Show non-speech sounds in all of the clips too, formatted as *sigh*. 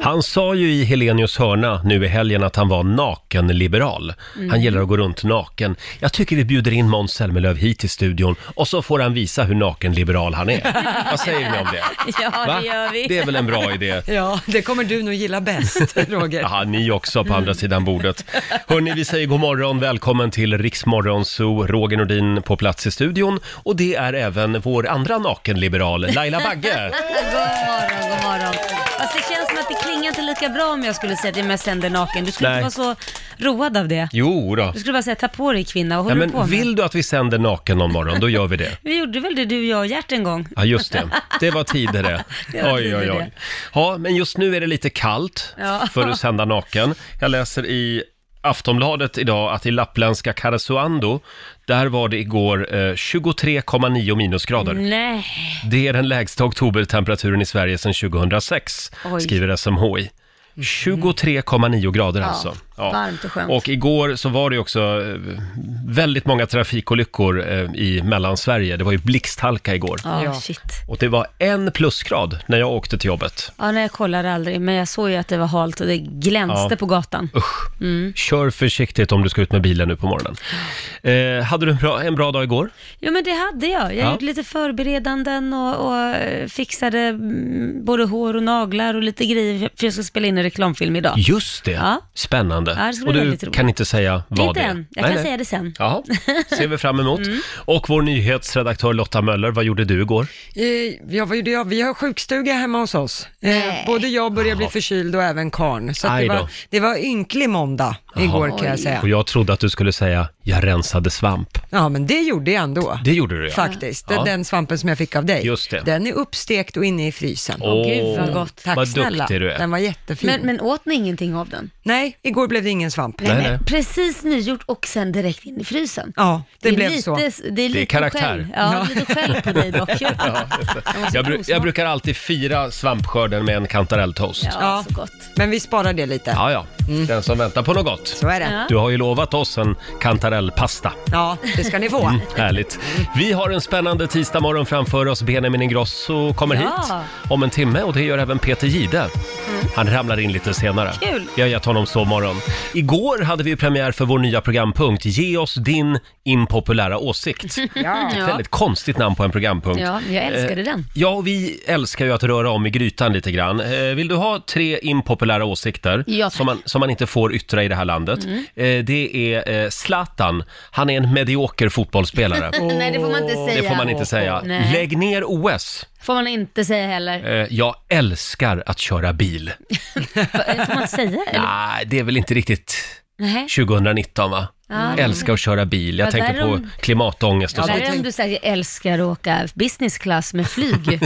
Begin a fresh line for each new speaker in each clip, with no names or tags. Han sa ju i Helenius hörna nu i helgen att han var nakenliberal. Han
Mm.
gillar att gå runt naken. Jag tycker vi bjuder in Måns Zelmerlöw hit till studion och så får han visa hur nakenliberal han är. Vad säger ni om
*laughs*
det?
Ja,
Va?
det gör vi.
Det är väl en bra idé?
Ja, det kommer du nog
*laughs*
gilla bäst, Roger.
Ja, ni också på andra sidan bordet. Hörni, vi säger god morgon, välkommen till Riksmorgon Zoo, Roger Nordin på plats i studion. Och det är även vår andra nakenliberal, Laila
*laughs*
Bagge.
God morgon, god morgon. Fast det känns som att det klingar inte lika bra om jag skulle säga att jag mest sänder naken. Du skulle
Nej.
inte vara så road av det.
Jo då.
Du skulle bara säga ta på dig kvinna, vad
Ja,
håller du på
men
med?
vill du att vi sänder naken någon morgon, då gör vi det.
Vi gjorde väl det du, jag och Gert en gång?
Ja, just det. Det var tider det.
*laughs* Det var
Oj,
tider
oj,
det.
oj. Ja, men just nu är det lite kallt
Ja.
för att sända naken. Jag läser i Aftonbladet idag att i lappländska Karesuando, där var det igår eh, 23,9 minusgrader.
Nej.
Det är den lägsta oktobertemperaturen i Sverige sedan 2006,
Oj. Mm.
skriver SMHI. 23,9 grader
Ja,
alltså.
varmt och skönt.
Och igår så var det ju också eh, väldigt många trafikolyckor eh, i Mellansverige. Det var ju blixthalka igår.
Ja, shit.
Och det var en plusgrad när jag åkte till jobbet.
Ja, nej, jag kollade aldrig, men jag såg ju att det var halt och det glänste
Ja.
på gatan.
Usch.
Mm.
Kör försiktigt om du ska ut med bilen nu på morgonen. Eh, hade du en bra, en bra dag igår?
Jo, men det hade jag. Jag
Ja.
gjorde lite förberedanden och, och eh, fixade mm, både hår och naglar och lite grejer, för jag ska spela in en reklamfilm idag.
Just det.
Ja.
Spännande.
Ja, det ska
och
bli
du
väldigt roligt.
kan inte säga vad
Inte
det är?
än. Jag
Nej,
kan
nej.
säga det Mm. sen.
Ja, ser vi fram
*laughs*
emot. Och vår nyhetsredaktör Lotta Möller, vad gjorde du igår?
Eh, Jag var ju det, jag- vi har sjukstuga hemma hos oss. Eh, Både jag börjar bli förkyld och även karn. Så att
Aj
det,
då.
var, det var ynklig måndag igår kan jag säga.
Och jag trodde att du skulle säga, jag rensade svamp.
Ja, men det gjorde jag ändå.
Det gjorde du ja.
Faktiskt.
Ja.
Den svampen som jag fick av dig.
Just det.
Den är uppstekt och inne i frysen.
Åh, Åh, gud, vad gott.
Tack
vad
snälla.
duktig du är.
Den var jättefin.
Men, men åt ni ingenting av den?
Nej, igår blev det ingen svamp.
Nej, nej. Precis nygjort och sen direkt in i frysen.
Ja, det,
är
blev
lite,
så.
Det är, lite
karaktär.
Skäll. Ja,
Ja.
lite skäll på dig
*laughs*
dock.
Ja, jag, bru- jag brukar alltid fira svampskörden med en kantarelltoast. Ja,
Ja, Mm. så gott.
Men vi sparar det lite.
ja. Den som väntar på något gott.
Så är det. Ja.
Du har ju lovat oss en kantarellpasta.
det ska ni få.
Mm, härligt. Vi har en spännande tisdagmorgon framför oss. Benjamin Ingrosso kommer
Ja.
hit om en timme och det gör även Peter Gide. Han ramlar in lite senare.
Mm. Kul.
Jag har gett honom sovmorgon. Igår hade vi ju premiär för vår nya programpunkt Ge oss din impopulära åsikt.
*laughs* Ja.
Ett väldigt konstigt namn på en programpunkt.
Ja, jag älskade
Eh,
den.
Ja, och vi älskar ju att röra om i grytan lite grann. Eh, Vill du ha tre impopulära åsikter
Ja, tack.
som, man, som man inte får yttra i det här landet?
Mm.
Eh, Det är eh, Zlatan. Han är en medioker
*laughs*
fotbollsspelare.
*laughs* Nej, det får man inte säga.
Det får man inte säga.
Nej.
Lägg ner OS.
Får man inte säga heller.
Eh, Jag älskar att köra bil.
Får
*laughs*
man inte säga? Eller?
Nej, det är väl inte riktigt
Nej.
2019 va?
Ja.
Älskar att köra bil. Jag
Ja,
tänker
där
på
om-
klimatångest och
Ja, det är om
sånt.
du säger jag älskar att åka business class med
*laughs*
flyg.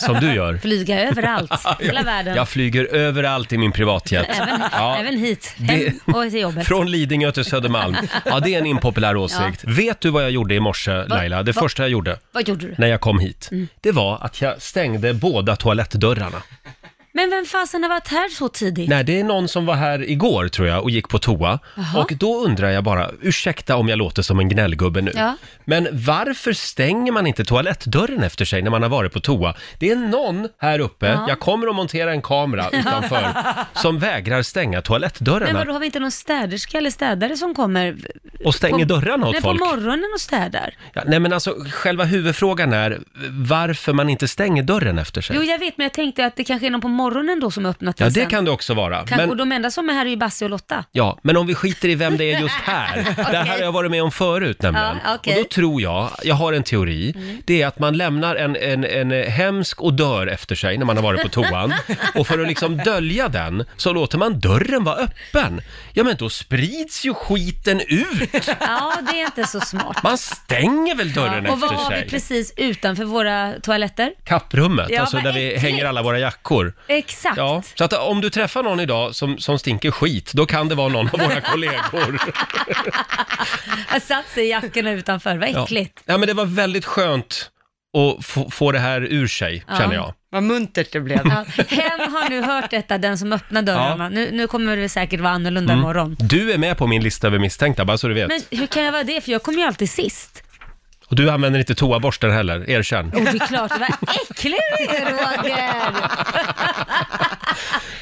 Som du gör.
Flyga överallt, hela världen.
Jag flyger överallt i min privatjet.
Även,
Ja.
även hit, hem
Det-
och till jobbet.
Från Lidingö till Södermalm. Ja, det är en impopulär åsikt. Vet du vad jag gjorde i morse, Laila? Det
va-
första jag gjorde
Vad gjorde du?
när jag kom hit,
Mm.
det var att jag stängde båda toalettdörrarna.
Men vem fasen har varit här så tidigt?
Nej, det är någon som var här igår tror jag och gick på toa.
Jaha.
Och då undrar jag bara, ursäkta om jag låter som en gnällgubbe nu.
Ja.
Men varför stänger man inte toalettdörren efter sig när man har varit på toa? Det är någon här uppe,
Ja.
jag kommer att montera en kamera
*laughs*
utanför, som vägrar stänga
Men
toalettdörrarna
vadå, har vi inte någon städerska eller städare som kommer?
och stänger
på,
dörrarna åt
nej,
folk.
på morgonen och städar.
Ja, nej men alltså själva huvudfrågan är varför man inte stänger dörren efter sig.
Jo, jag vet, men jag tänkte att det kanske är någon på morgonen då som har öppnat
ja,
den
det
sen.
kan det också vara.
Kanske- Och
Men,
de enda som är här är ju Basse
*laughs*
och Lotta.
ja, men om vi skiter i vem det är just
*laughs*
här. Det här har jag varit med om förut nämligen.
Ja, okej. Mm.
Och då tror jag, jag har en teori, det är att man lämnar en, en, en hemsk odör efter sig när man har varit på
*laughs*
toan. Och för att liksom dölja den så låter man dörren vara öppen. Ja men då sprids ju skiten ut.
Ja, det är inte så smart.
Man stänger väl dörren
Och vad
efter
har
sig.
vi precis utanför våra toaletter?
Kapprummet,
Ja,
alltså
vad
där vi
äckligt.
hänger alla våra jackor.
Exakt.
Ja, så att om du träffar någon idag som, som stinker skit, då kan det vara någon av
*laughs*
våra kollegor.
Jag satt sig i jackorna utanför, vad
Ja.
äckligt.
ja, men det var väldigt skönt att få, få det här ur sig,
Ja.
känner jag.
Vad muntert det blev.
Ja. Hen har nu hört detta, den som öppnar dörrarna.
Ja.
Nu, nu kommer det säkert vara annorlunda
Mm.
imorgon.
Du är med på min lista över misstänkta, bara så du vet.
Men hur kan jag vara det? För jag kommer ju alltid sist.
Och du använder inte toaborsten heller, erkänn.
Och det är klart, vad äcklig du är Roger!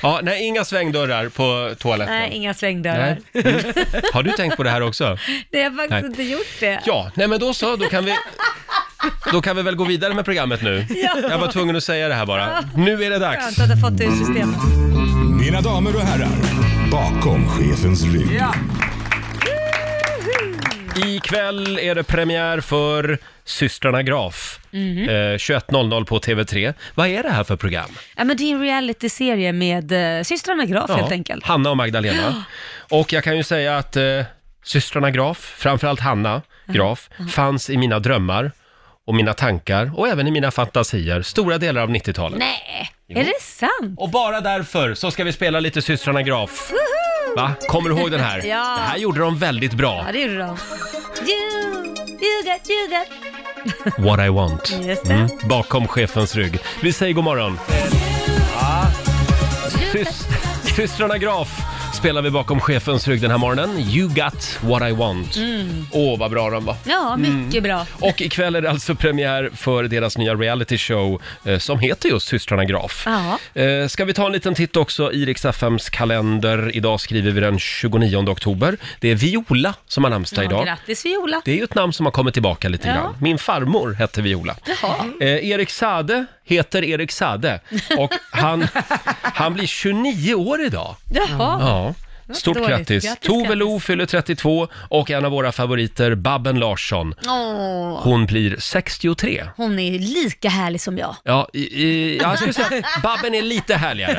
Ja, nej, inga svängdörrar på toaletten.
Nej, inga svängdörrar.
Mm. Har du tänkt på det här också?
Det har jag faktiskt
Nej.
inte gjort det.
Ja, nej men då så, då kan vi... Då kan vi väl gå vidare med programmet nu.
Ja.
Jag var tvungen att säga det här bara. Nu är det dags.
Skönt att ha fått det ur systemet.
Mina damer och herrar, bakom chefens rygg.
Ikväll är det premiär för Systrarna Graf.
Mhm.
Eh, 21.00 på TV3. Vad är det här för program?
Ja, men det är en realityserie med eh, systrarna Graf helt
Ja,
enkelt.
Hanna och Magdalena. Och jag kan ju säga att eh, systrarna Graf, framförallt Hanna Graf, fanns i mina drömmar och mina tankar och även i mina fantasier stora delar av 90-talet.
Nej, är det sant?
Och bara därför så ska vi spela lite systrarna Graf. Va? Kommer du ihåg den här?
Ja.
Det här gjorde de väldigt bra.
Ja, det gjorde de. You, you got, you got.
What I want. Mm.
Just det.
Bakom chefens rygg. Vi säger god morgon. Ja. Sys- systrarna Graf spelar vi bakom chefens rygg den här morgonen. You got what I want. Åh,
Mm.
vad bra de var.
Ja, mycket
Mm.
bra.
Och ikväll är det alltså premiär för deras nya reality show eh, som heter just Systrarna Graf.
Ja.
Eh, ska vi ta en liten titt också i Rix FMs kalender. Idag skriver vi den 29 oktober. Det är Viola som har namnsdag
Ja,
idag.
grattis Viola.
Det är ju ett namn som har kommit tillbaka lite
Ja.
grann. Min farmor hette Viola.
*laughs* Jaha.
Eh, Erik Sade heter Erik Sade och
*laughs*
han, han blir 29 år idag.
Jaha.
Ja. Stort
dåligt.
grattis!
Grattis,
Tove
grattis.
Lo fyller 32 och en av våra favoriter, Babben Larsson,
Åh,
hon blir 63.
hon är ju lika härlig som jag.
Ja, i, i, jag skulle säga att Babben är lite
*laughs*
härligare.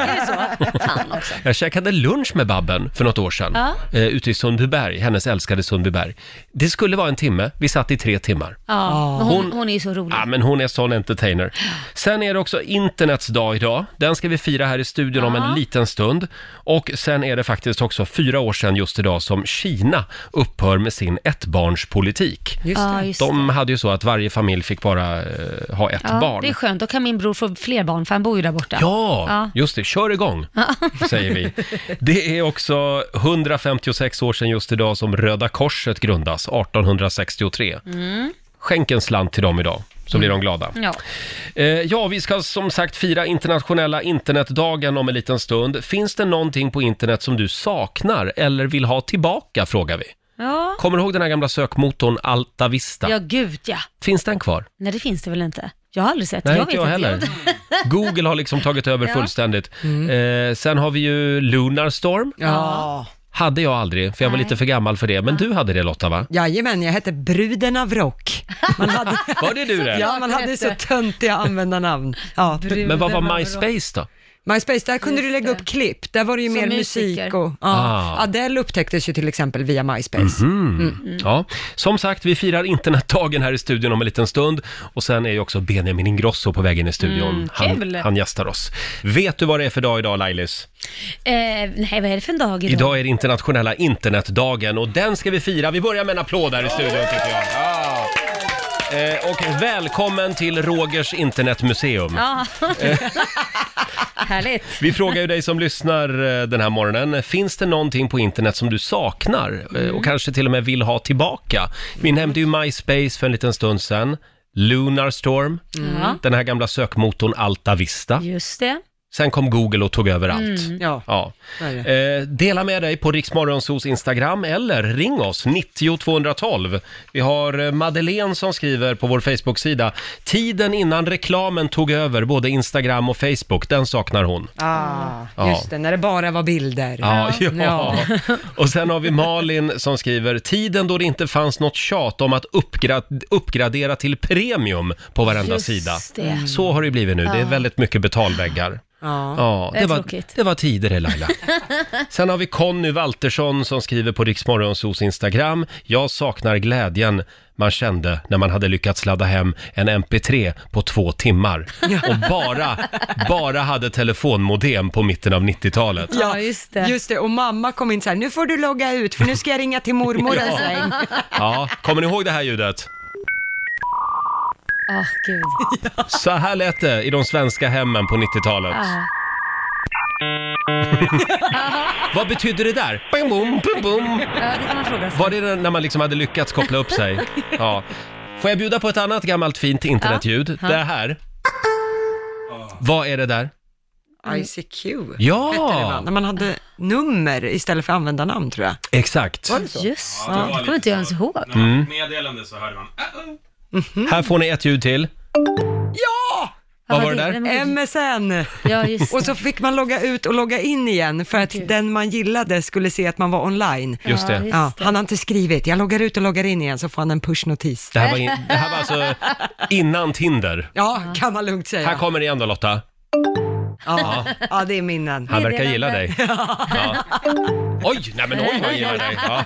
Fan också.
Jag käkade lunch med Babben för något år sedan,
Ja.
eh, ute i Sundbyberg, hennes älskade Sundbyberg. Det skulle vara en timme, vi satt i tre timmar.
Ja, men hon, hon är ju så rolig.
Ja, men hon är sån entertainer. Sen är det också internets dag idag. Den ska vi fira här i studion om en
Ja.
liten stund. Och sen är det faktiskt också fyra år sedan just idag som Kina upphör med sin ettbarnspolitik.
Just
Ja,
det.
just det.
De hade ju så att varje familj fick bara eh, ha ett
Ja,
barn.
det är skönt, då kan min bror få fler barn för han bor ju där borta.
Ja,
Ja.
just det. Kör igång, säger vi. Det är också 156 år sedan just idag som Röda Korset grundas, 1863.
Mm.
Skänk en slant till dem idag, så blir de glada.
Ja.
Eh, ja, vi ska som sagt fira internationella internetdagen om en liten stund. Finns det någonting på internet som du saknar eller vill ha tillbaka, frågar vi.
Ja.
Kommer du ihåg den här gamla sökmotorn Alta Vista?
ja, gud ja.
Finns den kvar?
Nej, det finns det väl inte. Jag har aldrig sett det.
Nej,
jag
inte jag heller. Google har liksom tagit över
Ja.
fullständigt. Eh, sen har vi ju Lunarstorm.
Ja.
Hade jag aldrig, för jag var
Nej.
lite för gammal för det. Men du hade det Lotta, va?
Jajamän, jag hette Bruden av Rock. Man hade,
Var det du det?
ja, man hade ju så töntiga användarnamn. Ja.
Men vad var MySpace då?
MySpace, där kunde du lägga upp klipp. Där var det ju mer
musiker.
musik och... Ja.
Ah.
Adele upptäcktes ju till exempel via MySpace.
Ja, som sagt, vi firar internetdagen här i studion om en liten stund. Och sen är ju också Benjamin Ingrosso på vägen i studion. han,
Mm, kul.
han gästar oss. Vet du vad det är för dag idag Lailis?
Eh, nej, vad är det för en dag idag?
Idag är det internationella internetdagen och den ska vi fira. Vi börjar med en applåd här i studion tycker jag. Ja. Eh, och välkommen till Rogers internetmuseum.
Ja. *laughs* Härligt.
Vi frågar ju dig som lyssnar eh, den här morgonen, finns det någonting på internet som du saknar eh, och kanske till och med vill ha tillbaka? Vi nämnde ju MySpace för en liten stund sedan, Lunarstorm,
Ja,
den här gamla sökmotorn Alta Vista.
just det.
Sen kom Google och tog över allt.
Mm. Ja.
Ja.
Så är
Eh, dela med dig på Riksmorgonsos Instagram eller ring oss, 90 212. Vi har eh, Madeleine som skriver på vår Facebook-sida. Tiden innan reklamen tog över både Instagram och Facebook, den saknar hon.
Ah, just det, när det bara var bilder.
Ja, *laughs* ja.
Ja.
Och sen har vi Malin som skriver, tiden då det inte fanns något tjat om att uppgrad- uppgradera till premium på varenda
Just
sida. Mm.
det.
Så har det ju blivit nu, det är väldigt mycket betalväggar.
Ja.
Ja,
Det
det
är
var,
tråkigt.
det var tider det
*laughs*
Laila. Sen har vi Conny Waltersson som skriver på Riksmorgonsos Instagram. Jag saknar glädjen man kände när man hade lyckats ladda hem en MP3 på två timmar och bara, bara hade telefonmodem på mitten av 90-talet.
Ja, just det.
Just det, och mamma kom in så här, nu får du logga ut för nu ska jag ringa till mormor
Ja.
och säga.
Ja, kommer ni ihåg det här ljudet?
Ah, gud.
Så här lät det i de svenska hemmen på 90-talet.
Ja.
Vad betyder det där? Bum, bum, bum, bum.
Ja, det kan man fråga sig.
Var det när man liksom hade lyckats koppla upp
*laughs*
sig? Ja. Får jag bjuda på ett annat gammalt fint internetljud? Det här. Vad är det där?
ICQ.
Ja.
Hette det va? När man hade nummer istället för användarnamn tror jag.
Exakt.
Var det så?
Just
det
det,
var
det kommer
lite
inte jag ens
så.
ihåg.
När man fick meddelande så hörde man "Ah, ah."
Här får ni ett ljud till.
Mm. Ja!
Vad var det där?
M-
MSN.
ja, just
Och
det.
så fick man logga ut och logga in igen för att den man gillade skulle se att man var online.
Just det.
visst.
Ja, han har inte skrivit. Jag loggar ut och loggar in igen så får han en pushnotis.
Det här, var in, det här var alltså innan Tinder.
Ja, kan man lugnt säga.
Här kommer det igen då Lotta.
Ja, ja det är minnen.
Han verkar
Meddelande.
gilla dig. *laughs* Ja. Oj, nej men oj vad han gillar dig. Ja.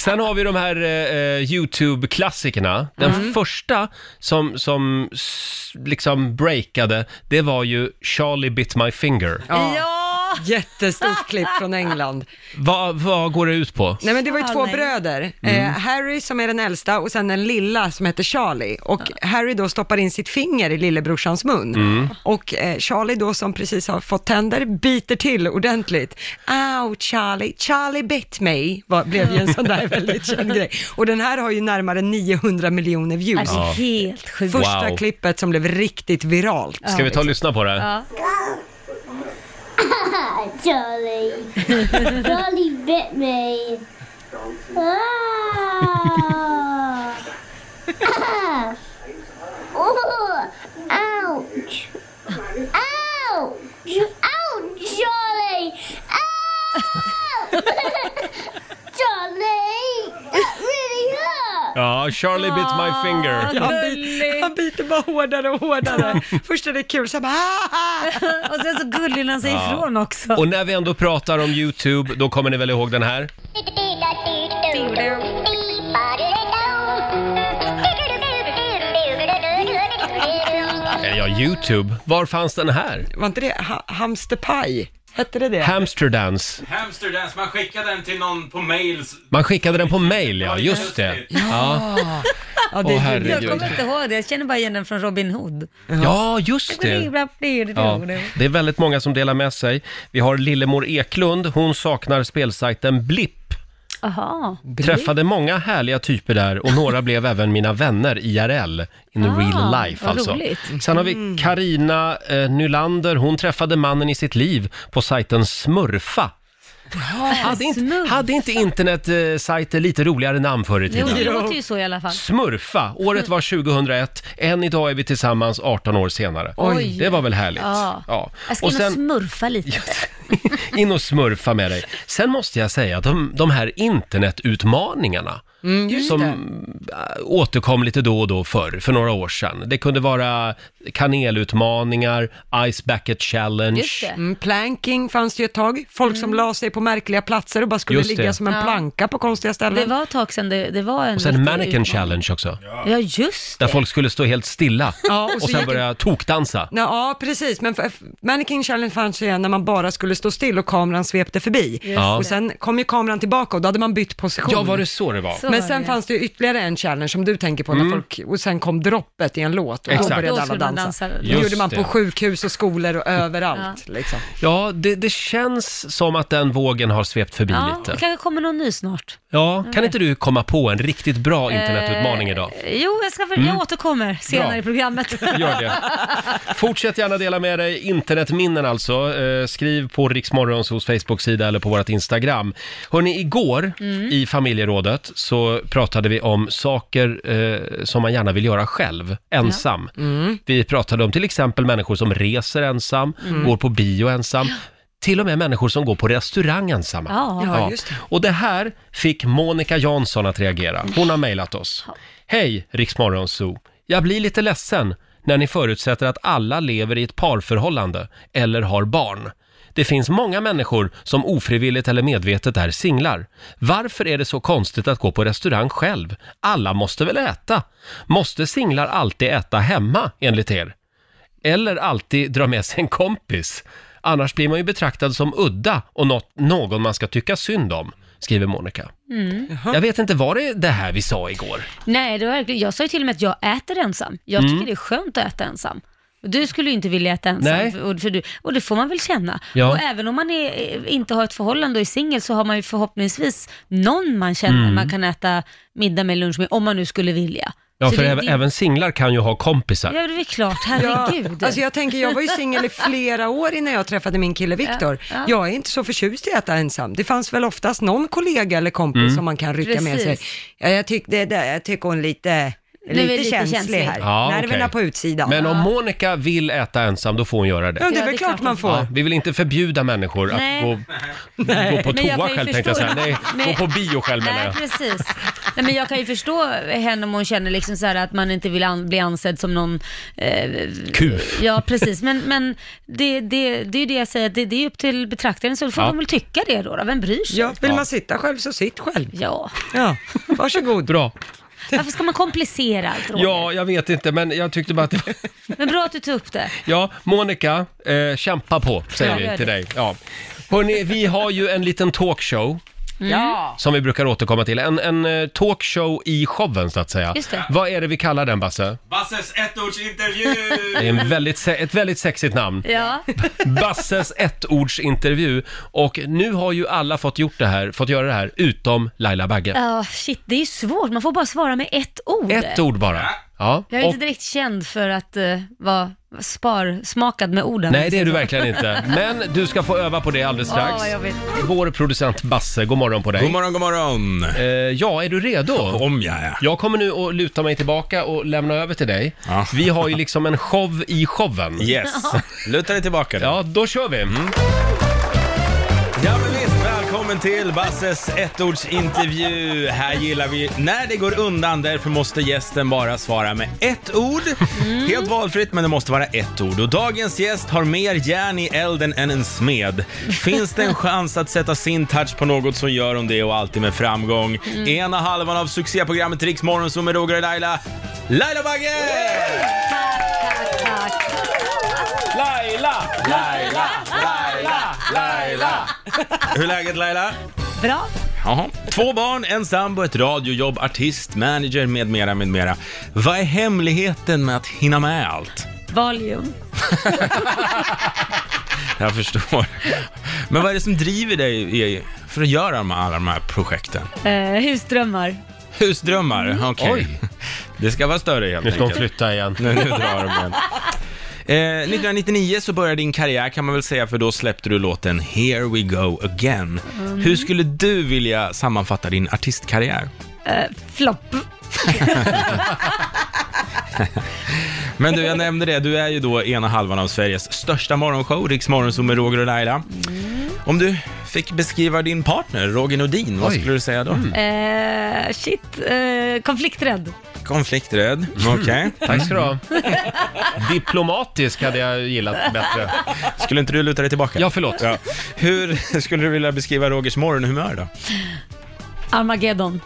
Sen har vi de här eh, YouTube-klassikerna. Den första som, som s- liksom breakade, det var ju Charlie bit my finger.
Ja,
Ja!
jättestort klipp från England.
Vad, vad går det ut på?
Nej men det var ju två
Charlie.
bröder, eh, Harry som är den äldsta och sen den lilla som heter Charlie. Och Harry då stoppar in sitt finger i lillebrorsans mun. Och eh, Charlie då som precis har fått tänder biter till ordentligt. Ow Charlie, Charlie bit me, var, blev ju en sån där väldigt känd grej. Och den här har ju närmare 900 miljoner views.
Alltså helt sjukt.
Första
Wow.
klippet som blev riktigt viralt.
Ska vi ta och lyssna på det?
*laughs* Jolly. Jolly bit me. Ah. *laughs* Ah. Oh, ouch. Ouch. Ouch, Jolly. Ow. *laughs* Jolly, that really hurt.
Ja, Charlie bit my finger.
Ja,
Han, bit, han
gulligt.
biter bara hårdare och hårdare. Först är det kul, sen bara "Ah, ah, ah."
Och sen så gullig när han säger ifrån också.
Och när vi ändå pratar om YouTube, då kommer ni väl ihåg den här? Eller Eh, ja, YouTube. Var fanns den här?
Var inte det ha, hamsterpaj? Hette det det?
Hamsterdance.
Hamster dance, man skickade den till någon på mails.
Man skickade den på mail, ja. Just det. Ja,
Ja, det
Åh,
är
herregud.
ju-
Jag kommer inte ihåg det, jag känner bara igen den från Robin Hood.
ja just det. Ja,
Det
det är väldigt många som delar med sig. Vi har Lillemor Eklund, hon saknar spelsajten Blipp.
Aha.
Träffade många härliga typer där och
*laughs*
några blev även mina vänner IRL, in
Ah,
real life
vad
alltså.
roligt. Mm.
Sen har vi Karina eh, Nylander, hon träffade mannen i sitt liv på sajten Smurfa. Hade inte,
Smurf.
hade inte internetsajter lite roligare namn förr i
Jo,
tiden?
det låter ju så i alla fall.
Smurfa, året var 2001, än idag är vi tillsammans 18 år senare.
Oj.
Det var väl härligt?
Ja.
Ja.
Jag ska
Och
in och
sen,
smurfa lite.
*laughs* in och smurfa med dig. Sen måste jag säga, de, de här internetutmaningarna
Mm,
som äh, återkom lite då och då förr, för några år sedan. Det kunde vara kanelutmaningar, Ice Bucket Challenge.
Just det.
Mm, planking fanns det ju ett tag. Folk
Mm.
som la sig på märkliga platser och bara skulle
Just det.
ligga som en planka på konstiga
Det
ställen.
var ett tag sedan det, det var en...
Och sen
riktig
Mannequin
utmaning.
Challenge också,
Ja, just
där
det.
folk skulle stå helt
*laughs*
stilla
Ja, och
och,
så
sen
gick-
börja tokdansa.
Ja, ja, precis. Men för- Mannequin Challenge fanns ju igen när man bara skulle stå still och kameran svepte förbi.
Ja.
Och sen kom ju kameran tillbaka och då hade man bytt position.
Ja, var det så det var?
Så
Men
var
sen
det.
fanns det ju ytterligare en challenge som du tänker på, när folk, och sen kom droppet i en låt och
Mm. Exakt.
då började
Då
alla
skulle man
dansa.
dansa.
Det
Just
gjorde man
det.
på sjukhus och skolor och överallt. Liksom.
Ja, det, det känns som att den vågen har svept förbi
Ja, det
lite.
kanske kommer någon ny snart.
Ja, kan inte du komma på en riktigt bra internetutmaning
Eh,
idag? Mm.
Jo, jag, ska, för- jag återkommer senare
Bra. *laughs*
i programmet.
Gör det. Fortsätt gärna dela med dig internetminnen alltså. Eh, skriv på Riksmorgons hos Facebook-sida eller på vårt Instagram. Hörni, igår i familjerådet så pratade vi om saker eh, som man gärna vill göra själv, ensam. Vi pratade om till exempel människor som reser ensam, går på bio ensam, till och med människor som går på restaurang ensamma.
Ja.
Ja, just det.
Och det här fick Monica Jansson att reagera. Hon har mejlat oss. Hej, Riksmorgon Zoo. Jag blir lite ledsen när ni förutsätter att alla lever i ett parförhållande eller har barn. Det finns många människor som ofrivilligt eller medvetet är singlar. Varför är det så konstigt att gå på restaurang själv? Alla måste väl äta? Måste singlar alltid äta hemma, enligt er? Eller alltid dra med sig en kompis. Annars blir man ju betraktad som udda och något, någon man ska tycka synd om, skriver Monica.
Mm.
Jag vet inte, var det det här vi sa igår?
Nej, det var verkligen, jag sa ju till och med att jag äter ensam. Jag
Mm.
tycker det är skönt att äta ensam. Och Du skulle ju inte vilja äta ensam,
Nej.
För, och, för du, och det får man väl känna.
Ja.
Och även om man är, inte har ett förhållande och är singel så har man ju
Mm.
förhoppningsvis någon man känner man kan äta middag med, lunch med, om man nu skulle vilja.
Ja,
Så
för
det-
även,
det-
även singlar kan ju ha
Ja,
kompisar.
det är
*laughs*
väl klart. Herregud.
Alltså jag tänker, jag var ju singel i flera år innan jag träffade min kille Viktor.
ja.
Jag är inte så förtjust i att äta ensam. Det fanns väl oftast någon kollega eller kompis
Mm.
som man kan rycka med sig.
Precis.
Ja, jag tycker jag tycker hon är lite,
är
lite,
lite
känslig,
känslig.
här.
Ja,
Nerverna
okej.
på utsidan.
Men om Monica vill äta ensam, då får hon göra
ja,
det.
det är
Ja,
väl
det är
klart
klart
man
att-
får.
Ja, vi vill inte förbjuda människor
Nej.
att
*laughs*
gå, gå på
Men jag
toa
kan ju
själv tänkte jag
förstå-
säga. Nej,
Nej.
gå på bio själv menar
Nej,
jag.
precis. Nej, men jag kan ju förstå henne om hon känner liksom så här att man inte vill an- bli ansedd som någon... Eh,
Kuf.
ja, precis. Men, men det, det, det är ju det jag säger, att det, det är upp till betraktaren, så då får
Ja.
de väl tycka det då. då. Vem bryr sig?
Ja, vill man sitta själv så sitt själv.
Ja.
Ja, varsågod.
Bra.
Varför ska man komplicera allt, Roger?
Ja, jag vet inte, men jag tyckte bara att det var...
Men bra att du tog upp det.
Ja, Monica, eh, kämpa på,
Ja,
säger vi
gör
till
det.
dig. Ja. Hörrni, vi har ju en liten talkshow
Mm.
Ja.
som vi brukar återkomma till. En, en eh, talkshow i showen, så att säga.
Just det.
Vad är det vi kallar den, Basse?
Basses ettordsintervju!
Det är en väldigt, se- ett väldigt sexigt namn.
Ja.
Basses ettordsintervju. Och nu har ju alla fått, gjort det här, fått göra det här, utom Laila Bagge.
Ja, shit, det är ju svårt. Man får bara svara med ett ord.
Ett ord bara. Ja.
Jag är
Och,
inte direkt känd för att eh, vara sparsmakad med orden.
nej, det är du verkligen inte. Men du ska få öva på det alldeles strax.
Åh, jag vet.
Vår producent Basse, god morgon på dig.
God morgon, god morgon!
Eh, ja, är du redo?
*laughs* Om jag är.
Jag kommer nu att luta mig tillbaka och lämna över till dig.
Ja.
Vi har ju liksom en show i showen.
Yes. Luta dig tillbaka då.
Ja, då kör vi!
Mm.
Ja men visst, välkommen till Basses ettordsintervju. Här gillar vi när det går undan, därför måste gästen bara svara med ett ord. Helt valfritt, men det måste vara ett ord. Och dagens gäst har mer järn i elden än en smed. Finns det en chans att sätta sin touch på något så gör hon det och alltid med framgång. Ena halvan av succéprogrammet Riks Morgonzoo med Roger och Laila, Laila Bagge!
Tack, tack.
Laila! Laila! Laila! Laila! Hur är läget Laila?
Bra.
Jaha. Två barn, en sambo, ett radiojobb, artist, manager med mera, med mera. Vad är hemligheten med att hinna med allt?
Valium.
Jag förstår. Men vad är det som driver dig i- för att göra de- alla de här projekten?
Eh, husdrömmar.
Husdrömmar? Okej.
Mm. Oj.
Det ska vara större helt
Nu ska hon
enkelt.
flytta igen.
Nu, nu drar de igen. Eh, 1999 så började din karriär kan man väl säga, för då släppte du låten “Here We Go Again”.
Mm.
Hur skulle du vilja sammanfatta din artistkarriär?
Flopp.
Men du, jag nämnde det, du är ju då ena halvan av Sveriges största morgonshow, Riks Morgonzoo med Roger och Laila. Om du fick beskriva din partner, Roger Nordin, vad
Oj. Mm.
skulle du säga då?
Eh, shit. Eh, konflikträdd.
Konflikträdd,
Mm.
okej.
*laughs* Tack ska du
*laughs*
ha. Diplomatisk hade jag gillat bättre.
Skulle inte du luta dig tillbaka?
Ja, förlåt.
Ja. Hur *laughs* skulle du vilja beskriva Rogers morgonhumör då?
Armageddon.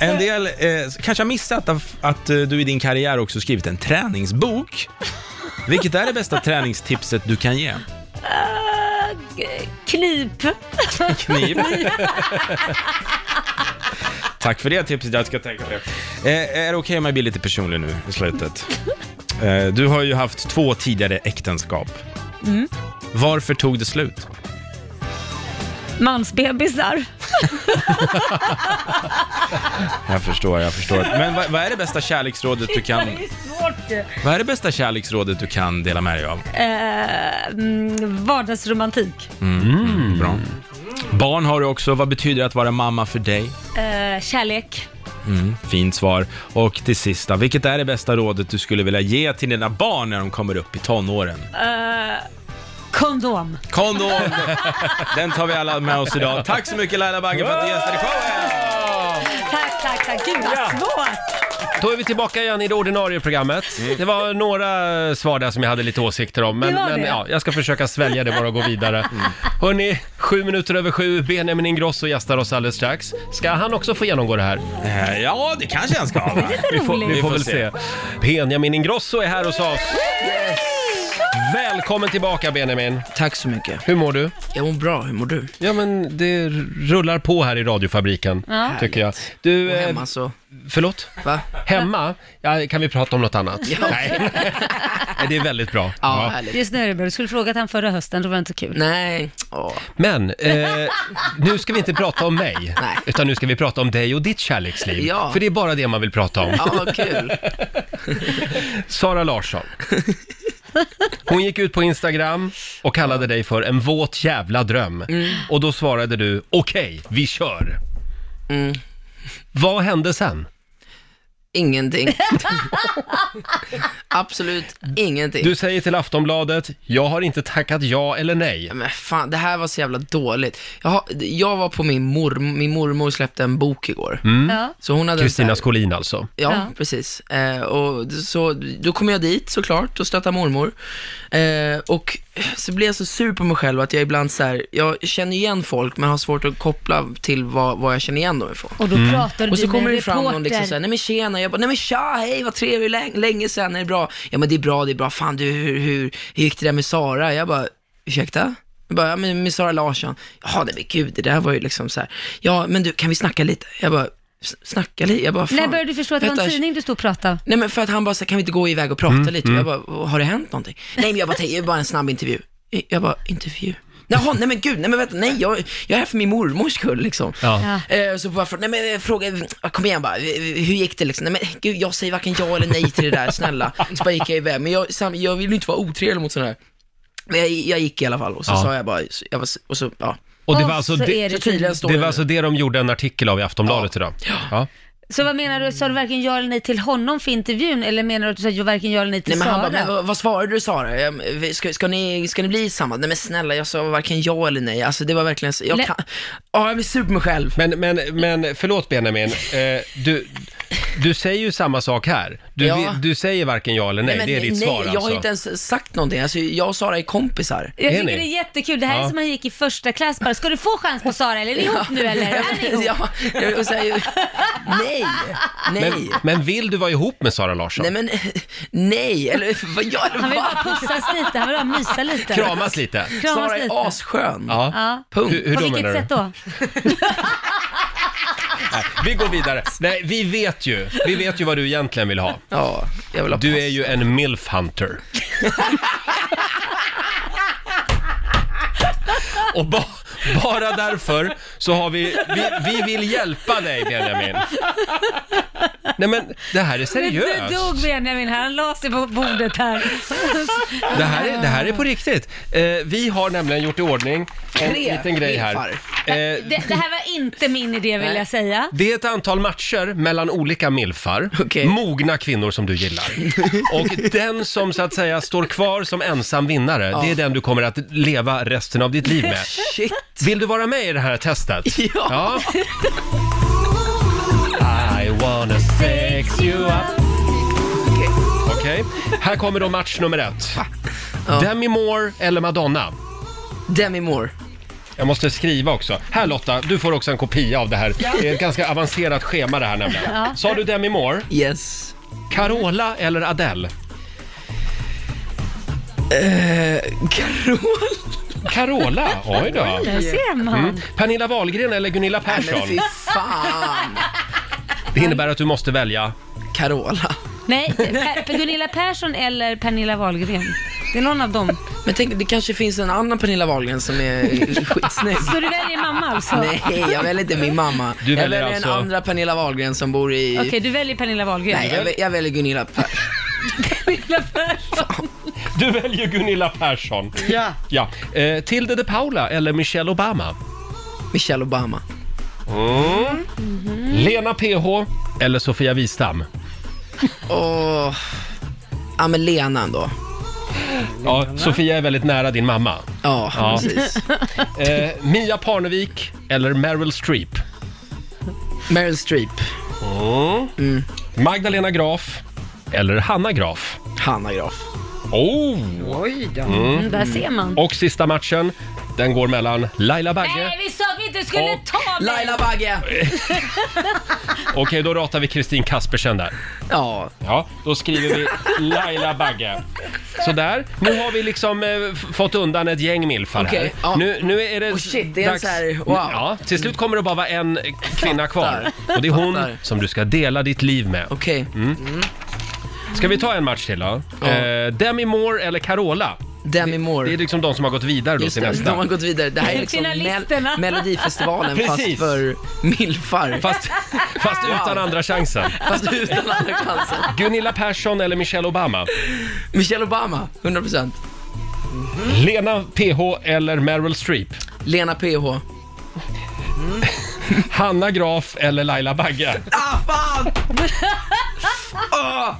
En del eh, kanske har missat att, att eh, du i din karriär också skrivit en träningsbok. Vilket är det bästa träningstipset du kan ge?
Eh, g- knip.
Kniv. Tack för det tipset, jag ska tänka på det. Eh, är det okej om jag blir lite personlig nu i slutet? Eh, du har ju haft två tidigare äktenskap. Varför tog det slut?
Mansbebisar.
Jag förstår, jag förstår. Men vad, vad är det bästa kärleksrådet du
*laughs*
kan...
svårt.
Vad är det bästa kärleksrådet du kan dela med dig av?
Eh, mm, vardagsromantik.
Bra. Barn har du också. Vad betyder det att vara mamma för dig?
Eh, kärlek.
Fint svar. Och till sista, vilket är det bästa rådet du skulle vilja ge till dina barn när de kommer upp i tonåren?
Eh, Kondom.
Kondom! Den tar vi alla med oss idag. Tack så mycket Laila Bagge för att du gästade showen!
Tack, tack, tack. Gud vad svårt.
Då är vi tillbaka igen i det ordinarie programmet. Det var några svar där som jag hade lite åsikter om, men,
Mm. Det var
men
det. Mm.
ja, jag ska försöka svälja det bara och gå vidare. Hörni, sju minuter över sju, Benjamin Ingrosso gästar oss alldeles strax. Ska han också få genomgå det här?
Eh, Ja, det kanske han ska ha. va?
Vi får, vi
Roligt.
får väl se. Benjamin Ingrosso är här hos oss. Välkommen tillbaka Benjamin.
Tack så mycket.
Hur mår du?
Jag mår bra, hur mår du?
Ja men det rullar på här i radiofabriken,
Ja.
tycker jag. Du,
Och
eh,
hemma så,
förlåt?
va?
Hemma? Ja, kan vi prata om något annat? Nej. Nej, det är väldigt bra.
Ja,
Ja.
härligt.
Just nu, du skulle frågat han förra hösten, då var det inte kul.
Nej, åh.
Men eh, nu ska vi inte prata om mig,
Nej.
utan nu ska vi prata om dig och ditt kärleksliv.
Ja.
För det är bara det man vill prata om.
Ja, vad kul.
Sara Larsson. Hon gick ut på Instagram och kallade dig för en våt jävla dröm.
Mm.
Och då svarade du, okej, vi kör.
Mm.
Vad hände sen?
*laughs* Ingenting. Absolut ingenting.
Du säger till Aftonbladet, jag har inte tackat ja eller nej.
Men fan, det här var så jävla dåligt. Jag, har- jag var på min mormor, min mormor släppte en bok igår.
Ja.
Så hon hade en så här-
Mm. Kristina Skolin alltså.
Ja,
Ja.
precis. Eh, och så, då kom jag dit såklart och stöttade mormor. Eh, och så blev jag så sur på mig själv att jag ibland så här, jag känner igen folk men har svårt att koppla till vad, vad jag känner igen dem ifrån.
Och då
Mm.
pratar
Och
du
så
med
kommer
en
det fram
reporter.
någon liksom såhär, nej men tjena, jag bara, nej men tja, hej, vad trevligt, länge, länge sen, är det bra? Ja men det är bra, det är bra, fan du, hur, hur, hur gick det där med Sara? Jag bara, ursäkta? Jag bara, ja men med Sara Larsson, jaha nej men gud, det där var ju liksom så här. ja men du, kan vi snacka lite? Jag bara, "S- snacka lite? Jag bara, fan.
När började du förstå att det var en
Vänta,
tidning du stod och pratade om?
Nej men för att han bara så här, kan vi inte gå iväg och prata lite? Och Jag bara, har det hänt någonting? *laughs* Nej men jag bara, det är bara en snabb intervju. Jag bara, intervju? Jaha, nej men gud, nej men vänta, nej jag, jag är här för min mormors skull liksom.
Ja.
Eh, Så bara, frå- nej men eh, fråga, eh, kom igen bara, eh, hur gick det liksom? Nej men gud, jag säger varken ja eller nej till det där, snälla. Så bara gick jag iväg, men jag, sam- jag vill ju inte vara otrevlig mot sådana här. Men jag, jag gick i alla fall och så
Ja.
sa jag bara, så- jag var, och så, ja.
Och det var alltså
så,
det,
är det
Så tydligen
tydligt.
står
det,
jag
var
nu.
alltså det de gjorde en artikel av i Aftonbladet idag. Ja.
så vad menar du, sa du varken ja eller nej till honom för intervjun eller menar du att du sa ju varken ja eller nej
Nej
till
men han
Sara?
bara, men vad- vad svarade du Sara? Jag- vi- Ska, ska, ni, ska ni bli samma? Nej men snälla, jag sa varken ja eller nej. Alltså det var verkligen, så- jag
Lä-
kan, ja jag blir sur på mig själv.
Men, men, men förlåt Benjamin, eh, du, du säger ju samma sak här. Du,
Ja.
du säger varken ja eller nej,
men,
det är ditt
nej,
svar
jag
alltså.
har inte ens sagt någonting. Alltså jag och Sara är kompisar.
jag
är
tycker
ni?
det är jättekul, det här
Ja.
är som han gick i första klass bara, ska du få chans på Sara eller är ni ihop nu eller? Är ni ihop?
*laughs* ja, och så här, nej, nej.
Men, men vill du vara ihop med Sara Larsson?
Nej men, *laughs* nej, eller vad gör
Han
du?
vill bara
Va?
pussas lite, han vill bara mysa lite.
Kramas lite?
Kramas
*laughs* Sara
lite.
är asskön.
Ja.
Ja.
Punkt.
Hur, hur
På
då
vilket
menar
sätt
du?
då?
Nej, vi går vidare. Nej, vi vet ju. Vi vet ju vad du egentligen vill ha.
Ja, jag vill ha
Du
pass.
är ju en milf hunter. Och ba, bara därför så har vi, vi, vi vill hjälpa dig Benjamin. Nej men det här är
Nu dog
seriöst. Eh,
Benjamin här, han la sig på bordet här.
Det här är, det här är på riktigt. Eh, vi har nämligen gjort i ordning en
Tre
liten grej här.
milfar.
Eh,
Det, det här var inte min idé vill
Nej.
jag säga.
Det är ett antal matcher mellan olika milfar,
Okej.
mogna kvinnor som du gillar. Och den som så att säga står kvar som ensam vinnare, det är den du kommer att leva resten av ditt liv med.
Shit.
Vill du vara med i det här testet?
*laughs* Ja.
I wanna sex you up. Okej, här kommer då match nummer ett. Demi Moore eller Madonna?
Demi Moore.
Jag måste skriva också. Här Lotta, du får också en kopia av det här. Det är ett ganska avancerat schema det här nämligen. Sa du Demi Moore?
Yes.
Carola eller Adele?
Eh, Carol.
Carola? Oj då. Mm.
Där ser man.
Pernilla Wahlgren eller Gunilla
Men
Persson?
fy fan.
Det innebär att du måste välja.
Carola.
Nej, per, Gunilla Persson eller Pernilla Wahlgren. Det är någon av dem.
Men tänk, det kanske finns en annan Pernilla Wahlgren som
*laughs*
är skitsnygg.
Så du väljer mamma alltså?
Nej, jag väljer inte min mamma.
Du
jag
väljer
väljer
alltså-
den andra Pernilla Wahlgren som bor i...
Okej, du väljer Pernilla Wahlgren.
Nej, jag, väl, jag väljer Gunilla Per.
Pernilla Persson.
Du väljer Gunilla Persson.
Ja.
Ja. Eh, Tilde de Paula eller Michelle Obama?
Michelle Obama.
Lena PH eller Sofia Wistam?
Åh... Ja, men Lena ändå.
Ja, Sofia är väldigt nära din mamma.
Ja,
Ja.
precis.
Eh, Mia Parnevik eller Meryl Streep?
Meryl Streep.
Magdalena Graf eller Hanna Graf?
Hanna Graf.
Oh!
Mm, där ser man.
Och sista matchen, den går mellan Laila Bagge
Nej, vi sa att vi inte skulle ta Babben!
Laila Bagge!
Okej, då ratar vi Kristin Kaspersen där.
Ja,
Ja, då skriver vi Laila Bagge. Sådär, nu har vi liksom eh, f- fått undan ett gäng milfar här.
Okej, ja.
Nu, nu är det
Oh shit, det är en så här- wow.
Ja, till slut kommer det bara vara en eh, kvinna kvar. Och det är hon
Fattar.
som du ska dela ditt liv med.
okej.
Ska vi ta en match till då? Eh, Demi Moore eller Carola?
Demi
Det är
Moore.
liksom de som har gått vidare då
Just
till
det, de har
nästa.
gått vidare. Det här är liksom
Finalisterna.
mel- Melodifestivalen
Precis.
fast för milfar.
Fast, fast
*laughs*
utan andra chansen.
Fast utan andra chansen.
Gunilla Persson eller Michelle Obama?
Michelle Obama, 100%.
Lena PH eller Meryl Streep?
Lena PH.
Hanna Graf eller Laila Bagge?
Ah, fan! Ah!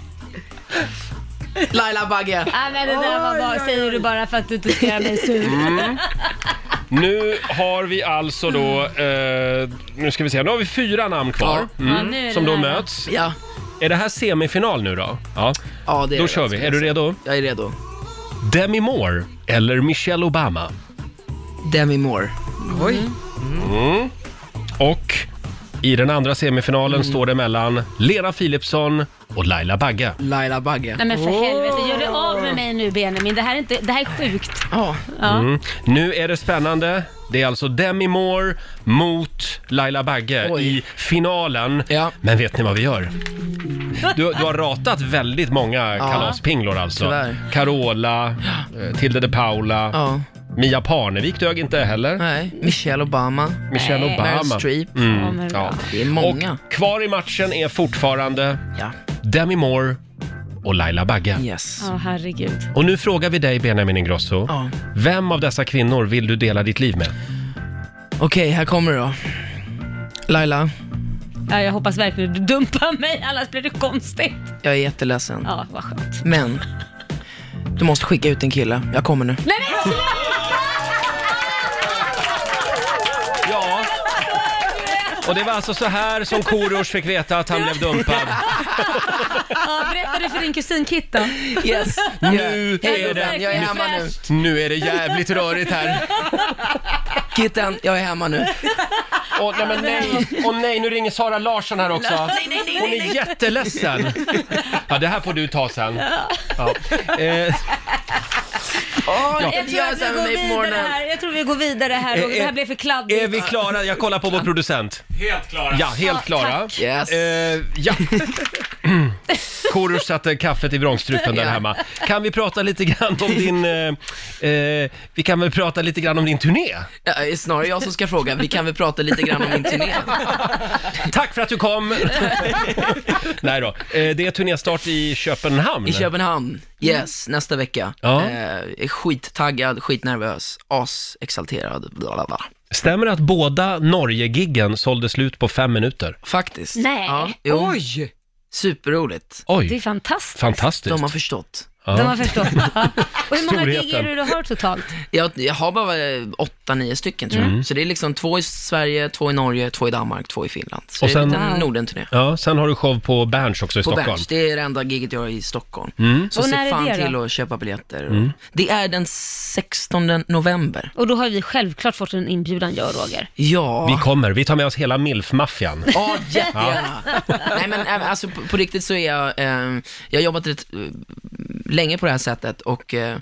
Laila Bagge.
Nej men det där var bara, säger du bara för att du inte ska göra mig sur.
Nu har vi alltså då, eh, nu ska vi se, nu har vi fyra namn kvar. mm,
Ja, nu är det
Som då
nära.
möts.
Ja,
Är det här semifinal nu då? Ja,
ja det är
då
det.
kör vi. Är du redo?
Jag är redo.
Demi Moore eller Michelle Obama?
Demi Moore.
Oj.
Och i den andra semifinalen
Mm.
står det mellan Lena Philipsson och Laila Bagge.
Laila Bagge.
Nej men för helvete, gör dig av med mig nu Benjamin. Det här är, inte, det här är sjukt.
Ja,
Ja.
Mm. Nu är det spännande. Det är alltså Demi Moore mot Laila Bagge
Oj.
i finalen.
Ja.
Men vet ni vad vi gör? Du, du har ratat väldigt många kalaspinglor alltså.
tyvärr.
Carola, eh, Tilde de Paula,
ja.
Mia Parnevik dög inte heller.
Nej. Michelle Obama.
Michelle
Nej.
Obama. Mm.
Meryl Streep.
Ja, men-
Ja.
Det är många.
Och kvar i matchen är fortfarande
Ja.
Demi Moore och Laila Bagge.
Yes.
Ja, herregud.
Och nu frågar vi dig Benjamin Ingrosso.
Ja.
Vem av dessa kvinnor vill du dela ditt liv med?
Okej, här kommer det då. Laila,
Ja, jag hoppas verkligen du dumpar mig, annars blir det konstigt.
jag är jätteledsen.
Ja, vad skönt.
Men, du måste skicka ut en kille. Jag kommer nu.
Nej men sluta!
Ja. Och det var alltså så här som Korosh fick veta att han blev dumpad.
Ja, berättar du för din kusin Kit då?
Yes.
Nu är
Hej
det...
gubben, jag är hemma nu.
Nu är det jävligt rörigt här.
Kitten, jag är hemma nu.
Åh nej, men nej. Åh, nej, nu ringer Sara Larsson här också. Hon är jätteledsen. Ja, det här får du ta sen. Ja. Eh,
Åh,
Ja.
Jag tror att vi går vidare här. Jag tror vi går vidare här Roger. Det här blev för kladdigt.
är eh, vi klara? Jag kollar på vår producent.
Helt klara.
Ja, helt klara.
Yes.
Eh, ja. *clears throat* Korosh satte kaffet i vrångstrupen där
Ja.
hemma. Kan vi prata lite grann om din... Eh, eh, vi kan väl prata lite grann om din turné?
Ja, det är snarare jag som ska fråga. Vi kan väl prata lite grann om min turné?
Tack för att du kom! Nej då, eh, det är turnéstart i Köpenhamn.
I
Mm.
Köpenhamn. Yes, nästa vecka.
Ja.
Eh, är skittaggad, skitnervös, asexalterad. Bla, bla, bla.
Stämmer det att båda Norge-giggen sålde slut på fem minuter?
Faktiskt.
Nej.
Ja, jo,
Oj!
superroligt.
Det är
Oj,
fantastiskt.
fantastiskt.
De har förstått.
De har förstått. Ja. Och hur många gig är
Storheten.
det du har totalt?
Jag, jag har bara eh, åtta, nio stycken tror jag.
Mm.
Så det är liksom två i Sverige, två i Norge, två i Danmark, två i Finland. Så
Och
det är en
sen-
liten Nordenturné.
Ja, sen har du show på Berns också i
På
Stockholm. Mm.
Berns, det är det enda giget jag har i Stockholm. Så
Och
se
när är
fan
det då?
till att köpa biljetter. Det är den 16 november.
Och då har vi självklart fått en inbjudan, jag och Roger.
Ja.
Vi kommer, vi tar med oss hela milf-maffian.
Ja, jättegärna. Nej men eh, alltså på, på riktigt så är jag, eh, jag har jobbat rätt eh, länge på det här sättet och eh,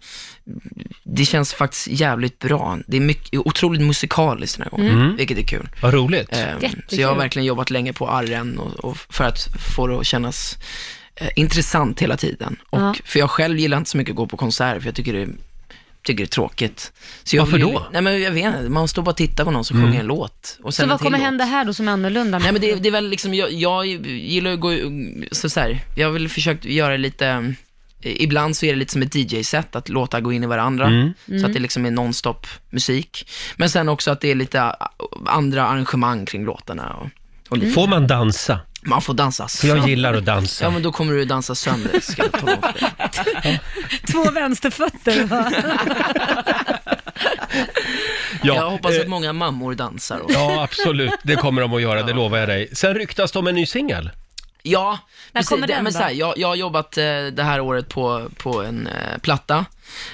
det känns faktiskt jävligt bra. Det är mycket, otroligt musikaliskt den här gången,
Mm.
vilket är kul.
Vad roligt.
Eh, Så
Jättekul.
jag har verkligen jobbat länge på arren och, och för att få det att kännas eh, intressant hela tiden. Och
Ja.
För jag själv gillar inte så mycket att gå på konserter, för jag tycker det är tycker det är tråkigt. Så jag
Varför
vill ju-
då? Mm.
Nej men jag vet inte, man står bara och tittar på någon som sjunger en låt. Och
Så
sen en
vad
till
kommer
låt.
hända här då som är annorlunda?
Nej men det, det är väl liksom, jag, jag gillar ju att gå, så, så här, jag har väl försökt göra lite, eh, ibland så är det lite som ett DJ-set, att låta gå in i varandra,
Mm.
Mm.
så att det liksom är non-stop musik. Men sen också att det är lite a- andra arrangemang kring låtarna. Och, och lite,
Får man dansa?
Man får dansa
För jag
sönder.
gillar att
Ja
dansa.
men då kommer du dansa sönder, ska jag tala om för dig.
*laughs* Två
*laughs*
vänsterfötter va?
Jag hoppas
eh,
att många mammor dansar. Och,
Ja, absolut. Det kommer de att göra, det lovar jag dig. Sen ryktas det om en ny singel.
Ja,
När
precis.
kommer
Det-
den
men
då?
så här, jag, jag har jobbat eh, det här året på, på en eh, platta,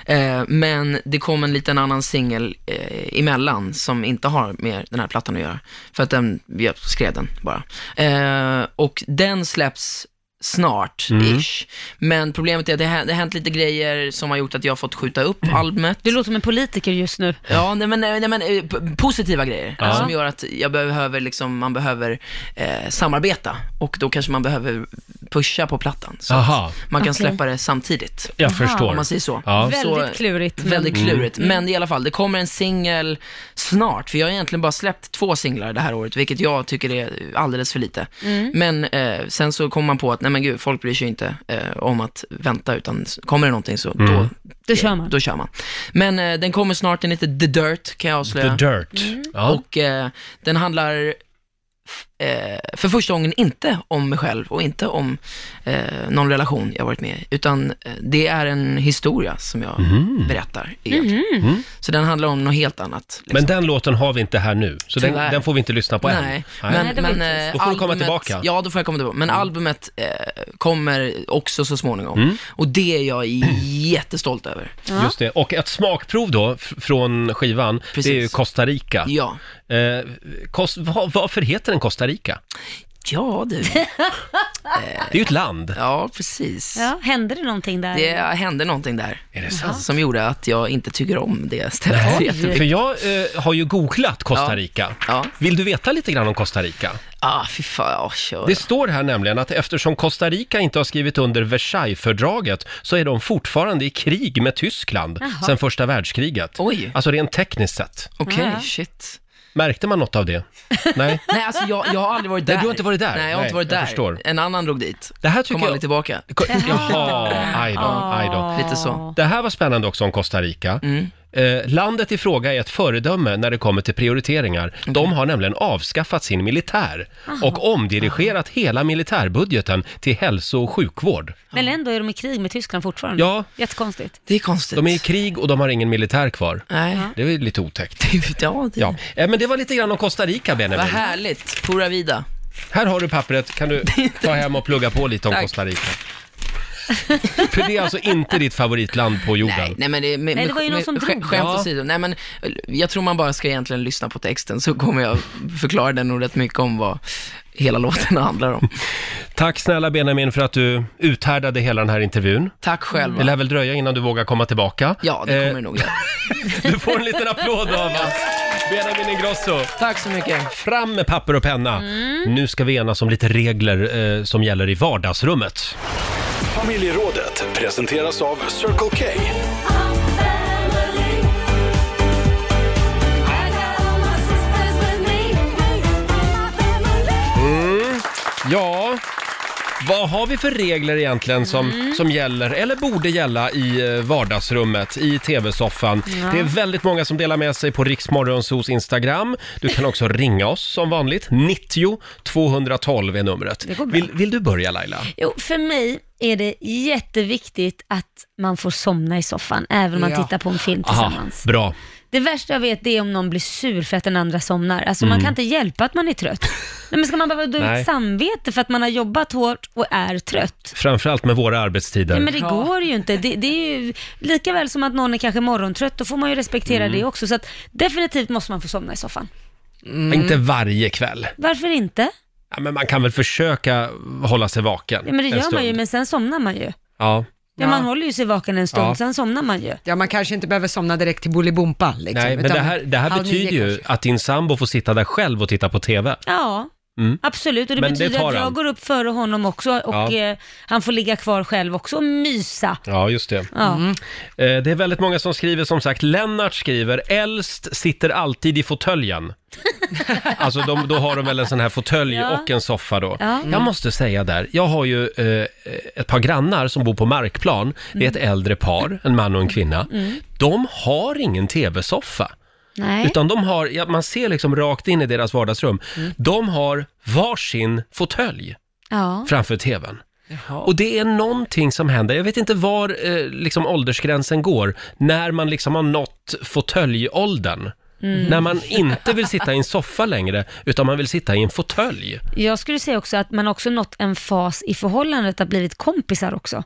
eh, men det kom en liten annan singel eh, emellan som inte har med den här plattan att göra. För att den, jag skrev den bara. Eh, och den släpps snart, ish.
Mm.
Men problemet är att det har, det har hänt lite grejer som har gjort att jag har fått skjuta upp
Mm.
albumet.
Du låter som en politiker just nu.
Ja, nej, men, nej, nej, men eh, p- positiva grejer
Ja.
som gör att jag behöver, liksom, man behöver eh, samarbeta och då kanske man behöver pusha på plattan. Så
Jaha.
att man kan
Okej.
släppa det samtidigt,
Jag
Aha.
förstår.
om man säger så.
Ja. Mm.
Så-
Väldigt klurigt. men-
Väldigt klurigt, men i alla fall, det kommer en singel snart, för jag har egentligen bara släppt två singlar det här året, vilket jag tycker är alldeles för lite.
Mm.
Men eh, sen så kom man på att, nej men gud, folk bryr sig inte eh, om att vänta, utan s- kommer det någonting så
Mm.
då,
Då kör man.
då kör man. Men eh, den kommer snart, den heter The Dirt, kan jag
The
avslöja.
Dirt. Ja.
Och eh, den handlar f- eh, för första gången inte om mig själv och inte om eh, någon relation jag varit med i, utan eh, det är en historia som
Mm.
jag berättar
Mm.
egentligen. Så den handlar om något helt annat. liksom.
Men den låten har vi inte här nu, så den,
Tyvärr.
den får vi inte lyssna på än.
Nej,
Nej,
men,
det var
men
ju
eh,
Då får du komma
albumet-
tillbaka. Mm.
Ja, då får jag komma tillbaka. Men albumet eh, kommer också så småningom. Och det är jag
*clears throat*
jättestolt över.
Just det. Och ett smakprov då f- från skivan, det är ju
Precis.
Costa Rica.
Ja.
Eh, Kos- va- varför heter den Costa Rica?
Ja, du.
*laughs*
Det är ju ett land.
Ja, precis.
Ja, händer det någonting där?
Det hände någonting där.
Är det sant?
Som gjorde att jag inte tycker om det stället
Nej.
jättemycket.
För jag eh, har ju googlat Costa
Ja.
Rica.
Ja.
Vill du veta lite grann om Costa Rica?
Ah, fy fan, ja, kör.
Det står här nämligen att eftersom Costa Rica inte har skrivit under Versaillesfördraget så är de fortfarande i krig med Tyskland sedan första världskriget.
Oj.
Alltså rent tekniskt sett.
Okej,
Ja, ja.
shit.
Märkte man något av
*laughs*
det? Nej.
Nej, alltså jag, jag har aldrig varit där.
Nej, du har inte varit där.
Nej, jag har inte
Nej,
varit
jag
där.
förstår.
En annan drog dit.
Det här tycker
Kom
jag-
aldrig tillbaka.
Ko- Jaha, aj då, aj då.
Lite så.
Det här var spännande också om Costa Rica.
Mm.
Eh, landet i fråga är ett föredöme när det kommer till prioriteringar. De har nämligen avskaffat sin militär och omdirigerat hela militärbudgeten till hälso och sjukvård.
Men ändå är de i krig med Tyskland fortfarande.
Ja.
Jättekonstigt.
Det är konstigt.
De är i krig och de har ingen militär kvar.
Nej.
Det är ju lite otäckt.
Det- *laughs* Ja, det...
Ja, eh, men det var lite grann om Costa Rica,
Vad
Benjamin.
härligt. Pura vida.
Här har du pappret, kan
*laughs*
du ta hem och plugga på lite om
Tack.
Costa Rica. För det är alltså inte ditt favoritland på jorden.
Nej, nej men det, med,
Nej, det var ju någon som drog.
Skämt
Ja.
åsido, nej men jag tror man bara ska egentligen lyssna på texten så kommer jag förklara den nog rätt mycket om vad hela *laughs* låten handlar om.
Tack snälla Benjamin för att du uthärdade hela den här intervjun.
Tack själv.
Det lär väl dröja innan du vågar komma tillbaka.
Ja, det kommer
Eh,
det nog göra.
Du får en liten applåd
*laughs*
av oss. Benjamin Ingrosso.
Tack så mycket.
Fram med papper och penna.
Mm.
Nu ska vi enas om lite regler eh, som gäller i vardagsrummet.
Familjerådet presenteras av Circle K.
Ja, vad har vi för regler egentligen som,
Mm.
som gäller, eller borde gälla i eh, vardagsrummet, i tv-soffan? Det är väldigt många som delar med sig på Riksmorgonsos Instagram. Du kan också ringa oss som vanligt. 90 212 är numret.
Det går bra.
Vill, vill du börja Laila?
Jo, för mig är det jätteviktigt att man får somna i soffan, även om man tittar på en film tillsammans.
bra.
Det värsta jag vet det är om någon blir sur för att den andra somnar. Alltså
Mm.
man kan inte hjälpa att man är trött. Nej, men ska man behöva dra
Nej.
ut samvete för att man har jobbat hårt och är trött?
Framförallt med våra arbetstider.
Nej, men det går ju inte. Det, det är ju lika väl som att någon är kanske morgontrött, då får man ju respektera
Mm.
det också. Så att definitivt måste man få somna i soffan.
Mm.
Inte varje kväll.
Varför inte?
Ja, men man kan väl försöka hålla sig vaken
Ja, men det
en
gör
stund.
man ju, men sen somnar man ju. Ja,
Ja.
Man håller ju sig vaken en stund,
Ja.
sen somnar man ju.
Ja, man kanske inte behöver somna direkt till Bolibompa. Liksom,
Nej, men
utan
det här, det här
halv nio
betyder ju
kanske.
att din sambo får sitta där själv och titta på TV.
Ja, absolut. Och det
Mm. Men det
betyder
tar
att jag
han.
går upp före honom också och
Ja.
eh, han får ligga kvar själv också och mysa.
Ja, just det.
Ja.
Eh, Det är väldigt många som skriver, som sagt, Lennart skriver, äldst sitter alltid i fåtöljen. *laughs* alltså de, då har de väl en sån här fåtölj
Ja.
och en soffa då.
Ja. Mm.
Jag måste säga där, jag har ju eh, ett par grannar som bor på markplan. Det är ett
Mm.
äldre par, en man och en kvinna. De har ingen tv-soffa.
Nej.
Utan de har, ja, man ser liksom rakt in i deras vardagsrum.
Mm.
De har varsin fåtölj
ja.
framför tvn. Och det är någonting som händer, jag vet inte var eh, liksom åldersgränsen går, när man liksom har nått fåtöljåldern.
Mm.
När man inte vill sitta i en soffa längre, utan man vill sitta i en fåtölj.
Jag skulle säga också att man också nått en fas i förhållandet att blivit kompisar också.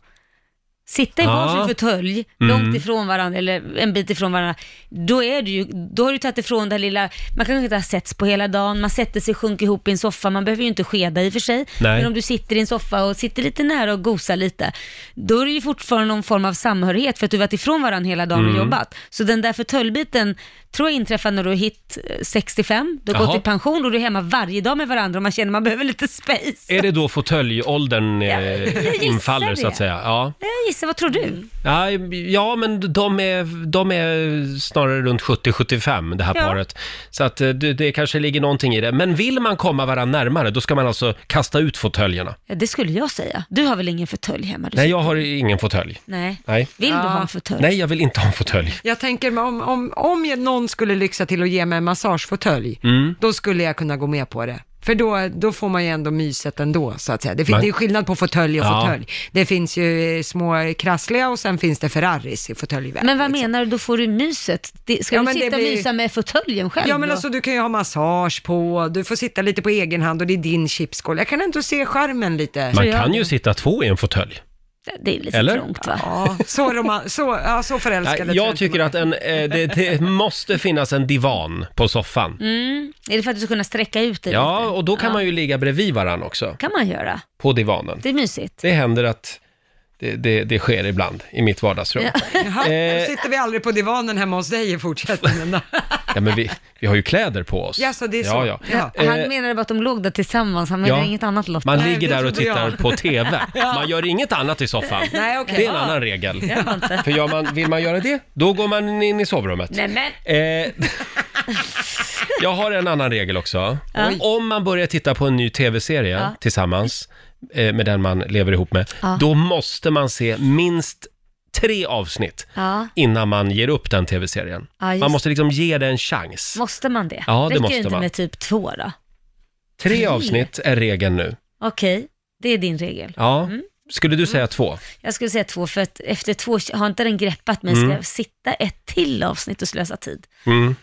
Sitta i
Ja. Mm.
varsin fåtölj, långt ifrån varandra, eller en bit ifrån varandra, då, är du ju, då har du tagit ifrån det här lilla, man kanske inte har setts på hela dagen, man sätter sig, sjunker ihop i en soffa, man behöver ju inte skeda i och för sig,
Nej.
men om du sitter i en soffa och sitter lite nära och gosar lite, då är det ju fortfarande någon form av samhörighet för att du varit ifrån varandra hela dagen
Mm.
och jobbat. Så den där fåtöljbiten tror jag inträffar när du är hit eh, 65, du har
Jaha.
gått i pension och du är hemma varje dag med varandra och man känner att man behöver lite space.
Är det då fåtöljåldern
jag
eh,
gissar
infaller, så att
det.
säga? Ja.
Jag gissar, Eh, vad tror
Mm.
du?
Ja, ja, men de är, de är snarare runt 70-75, det här
Ja.
paret. Så att eh, det, det kanske ligger någonting i det. Men vill man komma varandra närmare, då ska man alltså kasta ut fåtöljerna.
Ja, det skulle jag säga. Du har väl ingen fåtölj hemma? Du
Nej, jag har ingen fåtölj.
Nej.
Nej.
Vill du ha en fåtölj?
Nej, jag vill inte ha en fåtölj.
Jag tänker mig om, om, om jag- någon skulle lyxa till att ge mig en massagefåtölj,
Mm.
då skulle jag kunna gå med på det. För då, då får man ju ändå myset ändå, så att säga. Det, fin-
Man-
det är skillnad på fåtölj och
Ja.
fåtölj. Det finns ju eh, små krassliga och sen finns det Ferraris i liksom. fåtöljvärlden.
Men vad menar du, då får du myset? Det- Ska
Ja,
du
men det
sitta och
blir-
mysa med fåtöljen själv?
Ja men
då?
alltså du kan ju ha massage på, du får sitta lite på egen hand och det är din chipsskål. Jag kan ändå se skärmen lite.
Man
jag
kan ju
det.
sitta två i en fåtölj.
Det är lite
Eller?
trångt va?
Ja, så, roma- så, ja, så
Nej,
förälskade tror
Jag
inte
tycker
man-
att en, eh, det, det måste finnas en divan på soffan.
Mm. Är det för att du ska kunna sträcka ut dig
Ja,
lite?
och då kan man ju ligga bredvid varandra också,
kan man göra.
på divanen.
Det är mysigt.
Det händer att det, det, det sker ibland i mitt vardagsrum.
Jaha,
Eh.
då sitter vi aldrig på divanen hemma hos dig i
*laughs*
fortsättningen då.
Ja, men vi, vi har ju kläder på oss.
Ja, så det är så.
Ja, ja.
Ja.
Han
Eh,
menade bara att de låg där tillsammans, han menade
ja.
inget annat Lotta.
Man
Nej,
ligger
det
där och
trodde
tittar
jag.
på
*laughs*
TV. Man gör inget annat i soffan.
Nej, okej.
Det är en annan regel.
man inte.
För gör man, vill man göra det, då går man in i
*laughs*
sovrummet.
Nej, men.
Eh, *laughs* jag har en annan regel också.
Ja.
Om man börjar titta på en ny tv-serie
Ja.
tillsammans eh, med den man lever ihop med,
Ja.
då måste man se minst tre avsnitt
Ja,
innan man ger upp den tv-serien.
Ja, just
man
det.
måste liksom ge det en chans.
måste man det?
Ja, det
Räcker
måste
inte
man.
med typ två då?
Tre avsnitt är regeln nu.
Okej, det är din regel.
Ja. Mm. Skulle du säga två?
Jag skulle säga två, för att efter två har inte den greppat mig. Ska jag sitta ett till avsnitt och slösa tid?
Mm.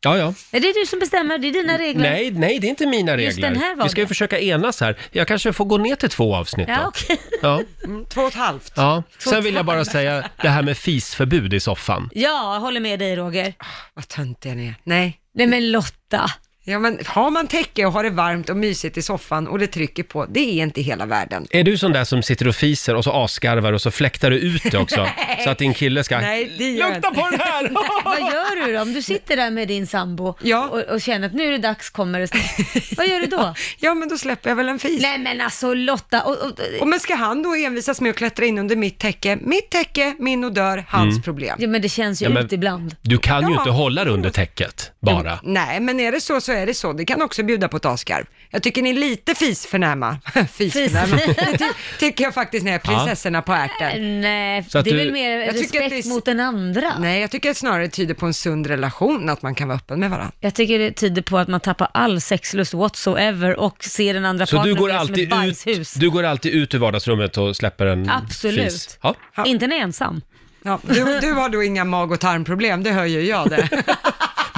Ja, ja.
Är det du som bestämmer? Det är dina regler.
Nej, nej, det är inte mina regler.
Just den här var
Vi ska ju
det.
försöka enas här. Jag kanske får gå ner till två avsnitt
Ja,
då.
okej. *laughs*
Ja,
Två och ett halvt.
ja. Sen vill jag bara säga det här med fisförbud i soffan.
ja, jag håller med dig Roger.
Vad töntiga ni är. Nej.
Nej men Lotta.
Ja, men har man täcke och har det varmt och mysigt i soffan och det trycker på, det är inte hela världen.
Är du sån där som sitter och fiser och så asgarvar och så fläktar du ut det också? så att din kille ska...
Nej, det gör jag
Lukta
inte.
på den här!
*laughs* Vad gör du då om du sitter där med din sambo
Ja.
och, och känner att nu är det dags, kommer det snart. Vad gör du då?
Ja, men då släpper jag väl en fis.
Nej men alltså Lotta, och, och,
Och men ska han då envisas med att klättra in under mitt täcke? Mitt täcke, min odör, hans
Mm.
problem.
ja, men det känns ju
Ja, men-
ut ibland.
*laughs* Du kan ju
Ja.
inte hålla det under täcket, bara.
Nej, men är det så så är det så. Det kan också bjuda på ett askarv. Jag tycker ni är lite fisförnäma. *laughs* fisförnäma. Det ty- tycker jag faktiskt när jag är prinsessorna på ärten.
Nej,
Så att
eh, det är
du-
väl mer
Jag tycker att
respekt
det är s-
mot den andra.
Nej, jag tycker snarare det tyder på en sund relation att man kan vara öppen med varandra.
Jag tycker det tyder på att man tappar all sexlust whatsoever och ser den andra
Så du
partnern
går,
mer som ett
alltid ut,
bajshus.
du går alltid ut ur vardagsrummet och släpper en
Absolut.
fis? Ja.
Inte när jag är ensam.
Ja, du, du har då inga mag och tarmproblem, det höjer jag det.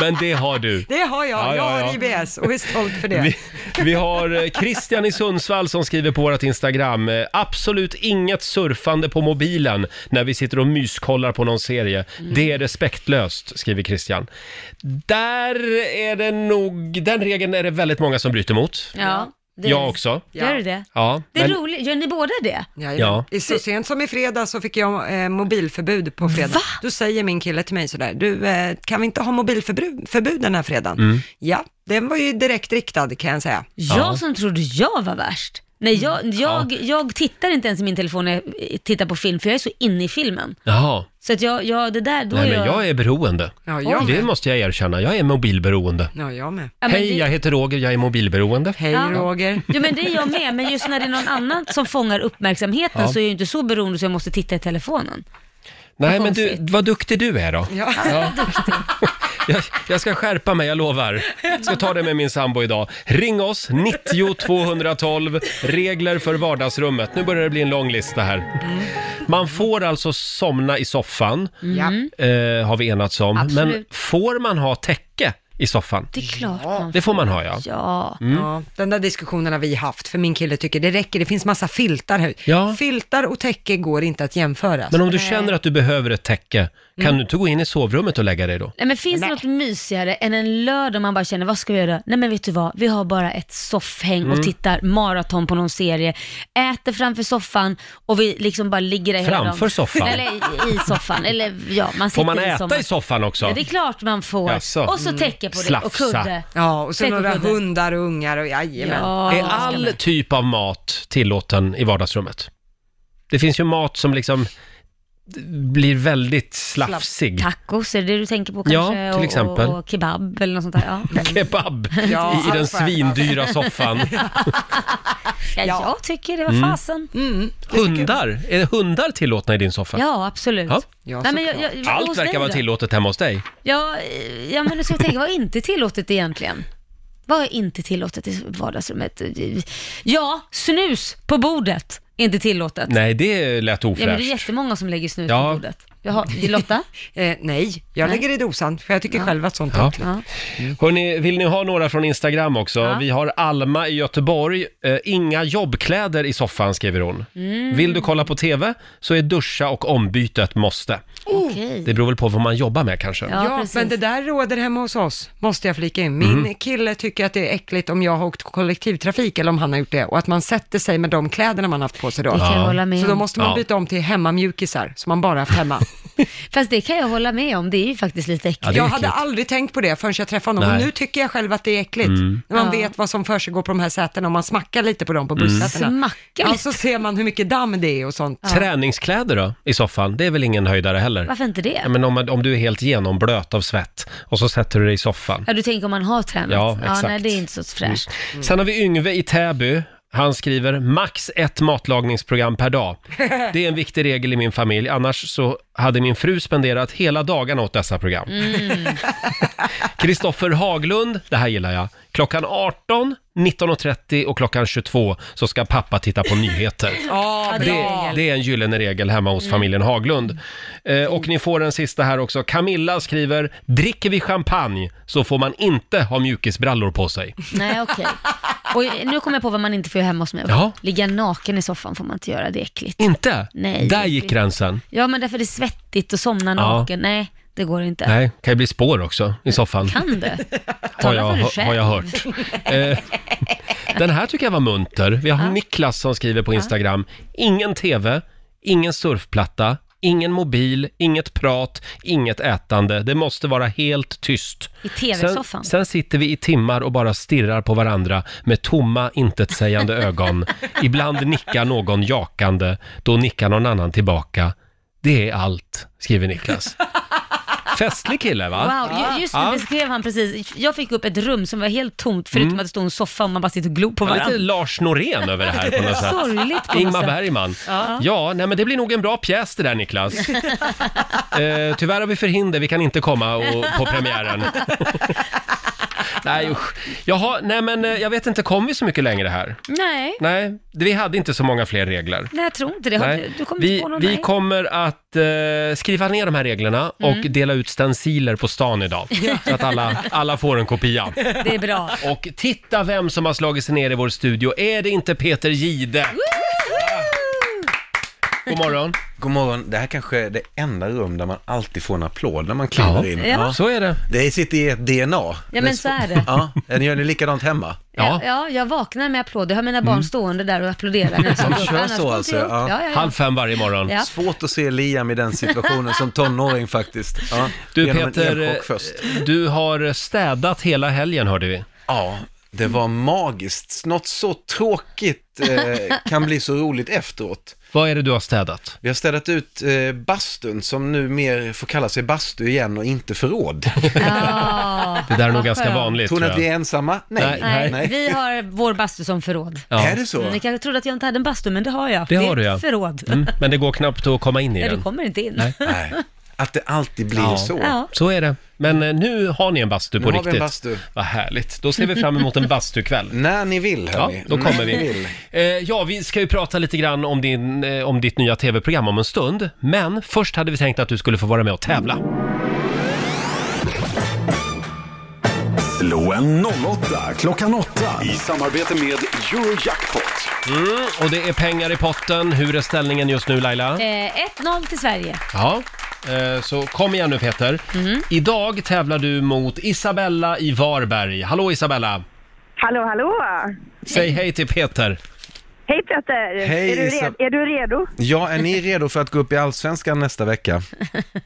Men det har du.
Det har jag,
Ja, ja,
jag har IBS och är stolt för det.
Vi, vi har eh, Christian i Sundsvall som skriver på vårt Instagram. eh, Absolut inget surfande på mobilen när vi sitter och myskollar på någon serie. Det är respektlöst, skriver Christian. Där är det nog, den regeln är det väldigt många som bryter mot.
Ja, det
Jag också.
Gör du det?
Ja,
Det är
men-
roligt. Gör ni båda det?
Ja.
Ja, ja. Så sent som i fredags så fick jag eh, mobilförbud på fredag. Då säger min kille till mig sådär, du eh, kan vi inte ha mobilförbud förbud den här fredagen? Ja, den var ju direkt riktad kan jag säga.
Jag
Ja. Mm.
som trodde jag var värst. Nej, jag, jag, jag tittar inte ens i min telefon när jag tittar på film, för jag är så inne i filmen.
Jaha,
Så att jag, jag det där, då
nej
är
men jag är beroende.
Ja, jag
Det
med.
måste jag erkänna, jag är mobilberoende.
Ja, jag med.
Ja, men det-
Hej, jag heter Roger, jag är mobilberoende.
Hej
Ja.
Roger.
Jo men det är jag med, men just när det är någon annan som fångar uppmärksamheten
Ja.
så är jag ju inte så beroende så jag måste titta i telefonen.
Nej men du,
konstigt.
vad duktig du är då.
Ja.
Ja. Jag, jag ska skärpa mig, jag lovar. Jag ska ta det med min sambo idag. Ring oss, 90 212, regler för vardagsrummet. Nu börjar det bli en lång lista här. Man får alltså somna i soffan,
Ja.
eh, har vi enats om.
Absolut.
Men får man ha täcke i soffan?
Det är klart man
Det får man ha, ja.
Ja.
Ja, den där diskussionen har vi haft, för min kille tycker det räcker, det finns massa filtar här.
Ja.
Filtar och täcke går inte att jämföra.
Men om du känner att du behöver ett täcke,
Mm.
kan du inte gå in i sovrummet och lägga dig då?
Nej, men finns det något mysigare än en lördag man bara känner, vad ska vi göra? Nej men vet du vad, vi har bara ett soffhäng
Mm.
och tittar maraton på någon serie, äter framför soffan och vi liksom bara ligger där hela
Framför
dagen.
soffan?
*laughs* Eller i, i soffan, eller ja, man
Får
sitter
man
i
äta
soffan.
i soffan också?
Ja, det är klart man får.
Jaså. Mm.
Och så täcke på det och
Slafsa.
kudde.
Ja, och så
Täcke
några
kudde.
hundar och ungar och jajamän.
Ja.
Är all typ av mat tillåten i vardagsrummet? Det finns ju mat som liksom blir väldigt slafsig.
Tacos, är det det du tänker på kanske?
Ja, till exempel.
Och, och kebab eller något sånt där.
*laughs*
Ja.
Kebab
Ja,
i, i den
allt får jag.
svindyra soffan.
Ja, jag tycker det,
Mm.
vad fasen.
Hundar, är hundar tillåtna i din soffa?
Ja, absolut.
Ja.
Ja,
Nej, men jag,
såklart.
jag,
Allt
hos dig
verkar vara
då?
tillåtet hemma hos dig.
Ja, eh, ja men nu ska jag tänka, vad är inte tillåtet egentligen? Vad är inte tillåtet i vardagsrummet? Ja, snus på bordet är inte tillåtet.
Nej, det lät
ja, men det är
ofräscht.
jättemånga som lägger snus
Ja.
på bordet. Jaha,
*laughs*
Lotta?
Eh, nej, jag lägger det i dosan, för jag tycker själv att sånt är
Ja.
äckligt.
Ja.
Hörrni, vill ni ha några från Instagram också?
Ja.
Vi har Alma i Göteborg. Eh, inga jobbkläder i soffan, skriver hon. Vill du kolla på TV så är duscha och ombyte ett måste.
Okej.
Oh, Det beror väl på vad man jobbar med kanske.
Ja,
Ja,
precis.
men det där råder hemma hos oss, måste jag flika in. Min
Mm.
kille tycker att det är äckligt om jag har åkt kollektivtrafik eller om han har gjort det och att man sätter sig med de kläderna man haft på sig då.
Det kan jag hålla med
Så då
om.
måste man
Ja.
byta om till hemmamjukisar som man bara haft
*laughs*
hemma.
Fast det kan jag hålla med om, det är ju faktiskt lite äckligt.
Ja, det är
jag hade
äckligt.
aldrig tänkt på det förrän jag träffade honom
Nej. Mm.
och nu tycker jag själv att det är äckligt. När man vet vad som försiggår på de här sätena och man smackar lite på
Mm.
dem på bussätena.
Smackar
Ja,
lite.
så ser man hur mycket damm det är och sånt.
Träningskläder då, i soffan? Det är väl ingen höjdare heller?
Varför inte det?
Ja, men om, man- om du är helt genomblöt av svett och så sätter du dig i soffan.
Ja, du tänker om man har tränat?
Ja, exakt.
nej, det är inte så fräscht.
Sen har vi Yngve i Täby. Han skriver max ett matlagningsprogram per dag. Det är en viktig regel i min familj, annars så hade min fru spenderat hela dagarna åt dessa program. *laughs* Kristoffer Haglund, det här gillar jag. Klockan 18, 19.30 och klockan 22 så ska pappa titta på nyheter.
Ja,
Ja, det är
Det,
regel.
det är en gyllene regel hemma hos familjen Haglund. Eh, och ni får en sista här också. Camilla skriver, dricker vi champagne så får man inte ha mjukisbrallor på sig.
Nej, okej. Och nu kommer jag på vad man inte får göra hemma hos mig.
Ja.
Ligga naken i soffan får man inte göra, det är äckligt.
Inte?
Nej,
Där
det-
gick gränsen.
Ja, men därför är det svettigt och somna
Ja.
naken. Nej, det går inte.
Nej, kan ju bli spår också i soffan.
Kan du?
Har
Tala
jag,
för dig
har
själv.
jag hört.
*laughs*
Eh, den här tycker jag var munter. Vi har Niklas som skriver på Instagram. Ingen TV, ingen surfplatta, ingen mobil, inget prat, inget ätande. Det måste vara helt tyst. *laughs*
I TV-soffan.
Sen, sen sitter vi i timmar och bara stirrar på varandra med tomma, intetsägande ögon. Ibland nickar någon jakande, då nickar någon annan tillbaka. Det är allt, skriver Niklas. Festlig kille, va?
Wow, ju- just nu
Ja.
beskrev han precis. Jag fick upp ett rum som var helt tomt, förutom att det stod en soffa och man bara sitter och glor på
Mm. Ja, Lite
varandra.
Lars Norén över det här på något
*laughs*
sätt.
Sorgligt på något
Ingmar
sätt.
Bergman. Ja, nej, men det blir nog en bra pjäs det där Niklas. eh, tyvärr har vi förhinder, vi kan inte komma och, på premiären. *laughs* nej usch. Jaha, nej men eh, jag vet inte, kom vi så mycket längre här?
Nej,
Nej, det- vi hade inte så många fler regler.
nej, jag tror inte det. Har
Nej.
Du, du kommer
Vi,
inte på någon
vi
nej.
kommer att eh, skriva ner de här reglerna
Mm.
och dela ut stenciler på stan
*laughs*
idag. Så att alla, alla får en kopia.
Det
*laughs*
är bra.
Och titta vem som har slagit sig ner i vår studio. Är det inte Peter Gide? God morgon.
God morgon. Det här kanske är det enda rum där man alltid får en applåd när man kliver in.
Ja.
Så är det.
Det sitter i ert DNA.
Ja, men så är det.
Ja, ni gör ni likadant hemma?
Ja.
Ja. ja, jag vaknar med applåder. Jag har mina barn
Mm.
stående där och applåderar. när jag ska gå upp.
kör
Annars
så
går inte
alltså,
jag upp.
ja.
Ja, ja, ja.
Halv fem varje morgon.
Ja.
Svårt att se Liam i den situationen som tonåring faktiskt. Ja,
Du
genom en
Peter,
elchock först.
eh, du har städat hela helgen hörde vi.
Ja, det var magiskt. Något så tråkigt eh, kan bli så roligt efteråt.
Vad är det du har städat?
Vi har städat ut eh, bastun som nu mer får kalla sig bastu igen och inte förråd.
Ja.
*laughs* Det där är nog
Vad
ganska
skönt.
vanligt
Tror
tror
ni att vi
jag.
är ensamma? Nej.
Nej. Mm,
Nej, vi har vår bastu som förråd.
Ja.
Är det så?
Mm, Ni kanske trodde att jag inte hade en bastu, men det har jag.
Det har
är
du,
ett
ja.
förråd.
Mm, men det går knappt att komma in i
Nej, du
den.
kommer inte in.
Nej.
Nej. att det alltid blir
Ja.
så.
*laughs* Ja.
Så är det. Men eh, nu har ni en bastu
Nu
på
har vi en
riktigt.
bastu.
Vad härligt. Då ser vi fram emot en bastukväll.
När ni vill,
Ja,
hörni.
då kommer
När ni
vi.
vill.
Eh, ja, vi ska ju prata lite grann om, din, eh, om ditt nya tv-program om en stund. Men först hade vi tänkt att du skulle få vara med och tävla.
Slå en 08 klockan 8 i samarbete med Eurojackpot.
Mm, och det är pengar i potten. Hur är ställningen just nu Laila?
Eh, 1-0 till Sverige.
Ja. Eh, så kom igen nu Peter. Idag tävlar du mot Isabella i Varberg. Hallå Isabella!
Hallå, hallå!
Säg hej till Peter.
Hej Peter!
Hej,
är, du
Isa.
redo? är du redo?
Ja, är ni redo för att gå upp i Allsvenskan nästa vecka?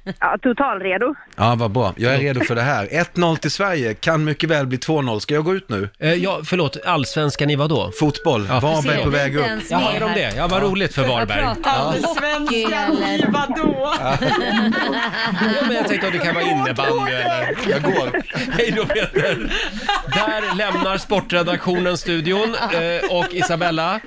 *laughs* Ja, totalredo.
Ja, vad bra. Jag är redo för det här. 1-0 till Sverige, kan mycket väl bli 2-0. Ska jag gå ut nu?
Eh, ja, förlåt, allsvenskan i vadå?
Fotboll,
precis.
Varberg är på
Vi är
väg
inte
upp.
ens
Ja,
med
är de
här.
det? Ja, vad roligt för
Vad
Varberg.
pratar om? Hockey eller?
vadå?
Ja, men jag tänkte att det kan vara innebandy eller...
Jag går.
Hej då Peter! Där lämnar sportredaktionen studion eh, och Isabella,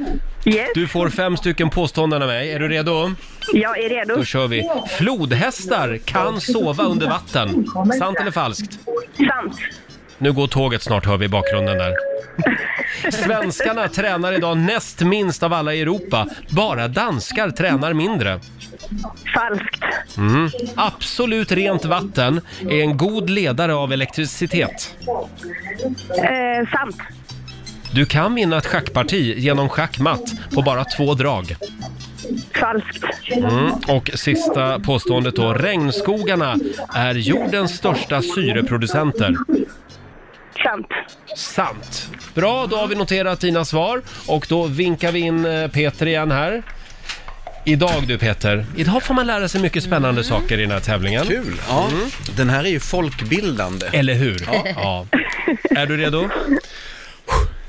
Yes,
du får fem stycken påståenden av mig. Är du redo?
jag är redo.
Då kör vi. Flodhästar kan sova under vatten. Sant eller falskt?
Sant.
Nu går tåget snart hör vi i bakgrunden där. Svenskarna tränar idag näst minst av alla i Europa. Bara danskar tränar mindre.
Falskt.
Absolut rent vatten är en god ledare av elektricitet.
Eh, sant.
Du kan vinna ett schackparti genom schackmatt på bara två drag.
Falskt.
Mm. Och sista påståendet då. Regnskogarna är jordens största syreproducenter.
Sant.
Sant. Bra, då har vi noterat dina svar och då vinkar vi in eh, Peter igen här. Idag du Peter, idag får man lära sig mycket spännande saker i den här tävlingen.
Kul. Ja. Den här är ju folkbildande.
Eller hur? Ja. Är du redo?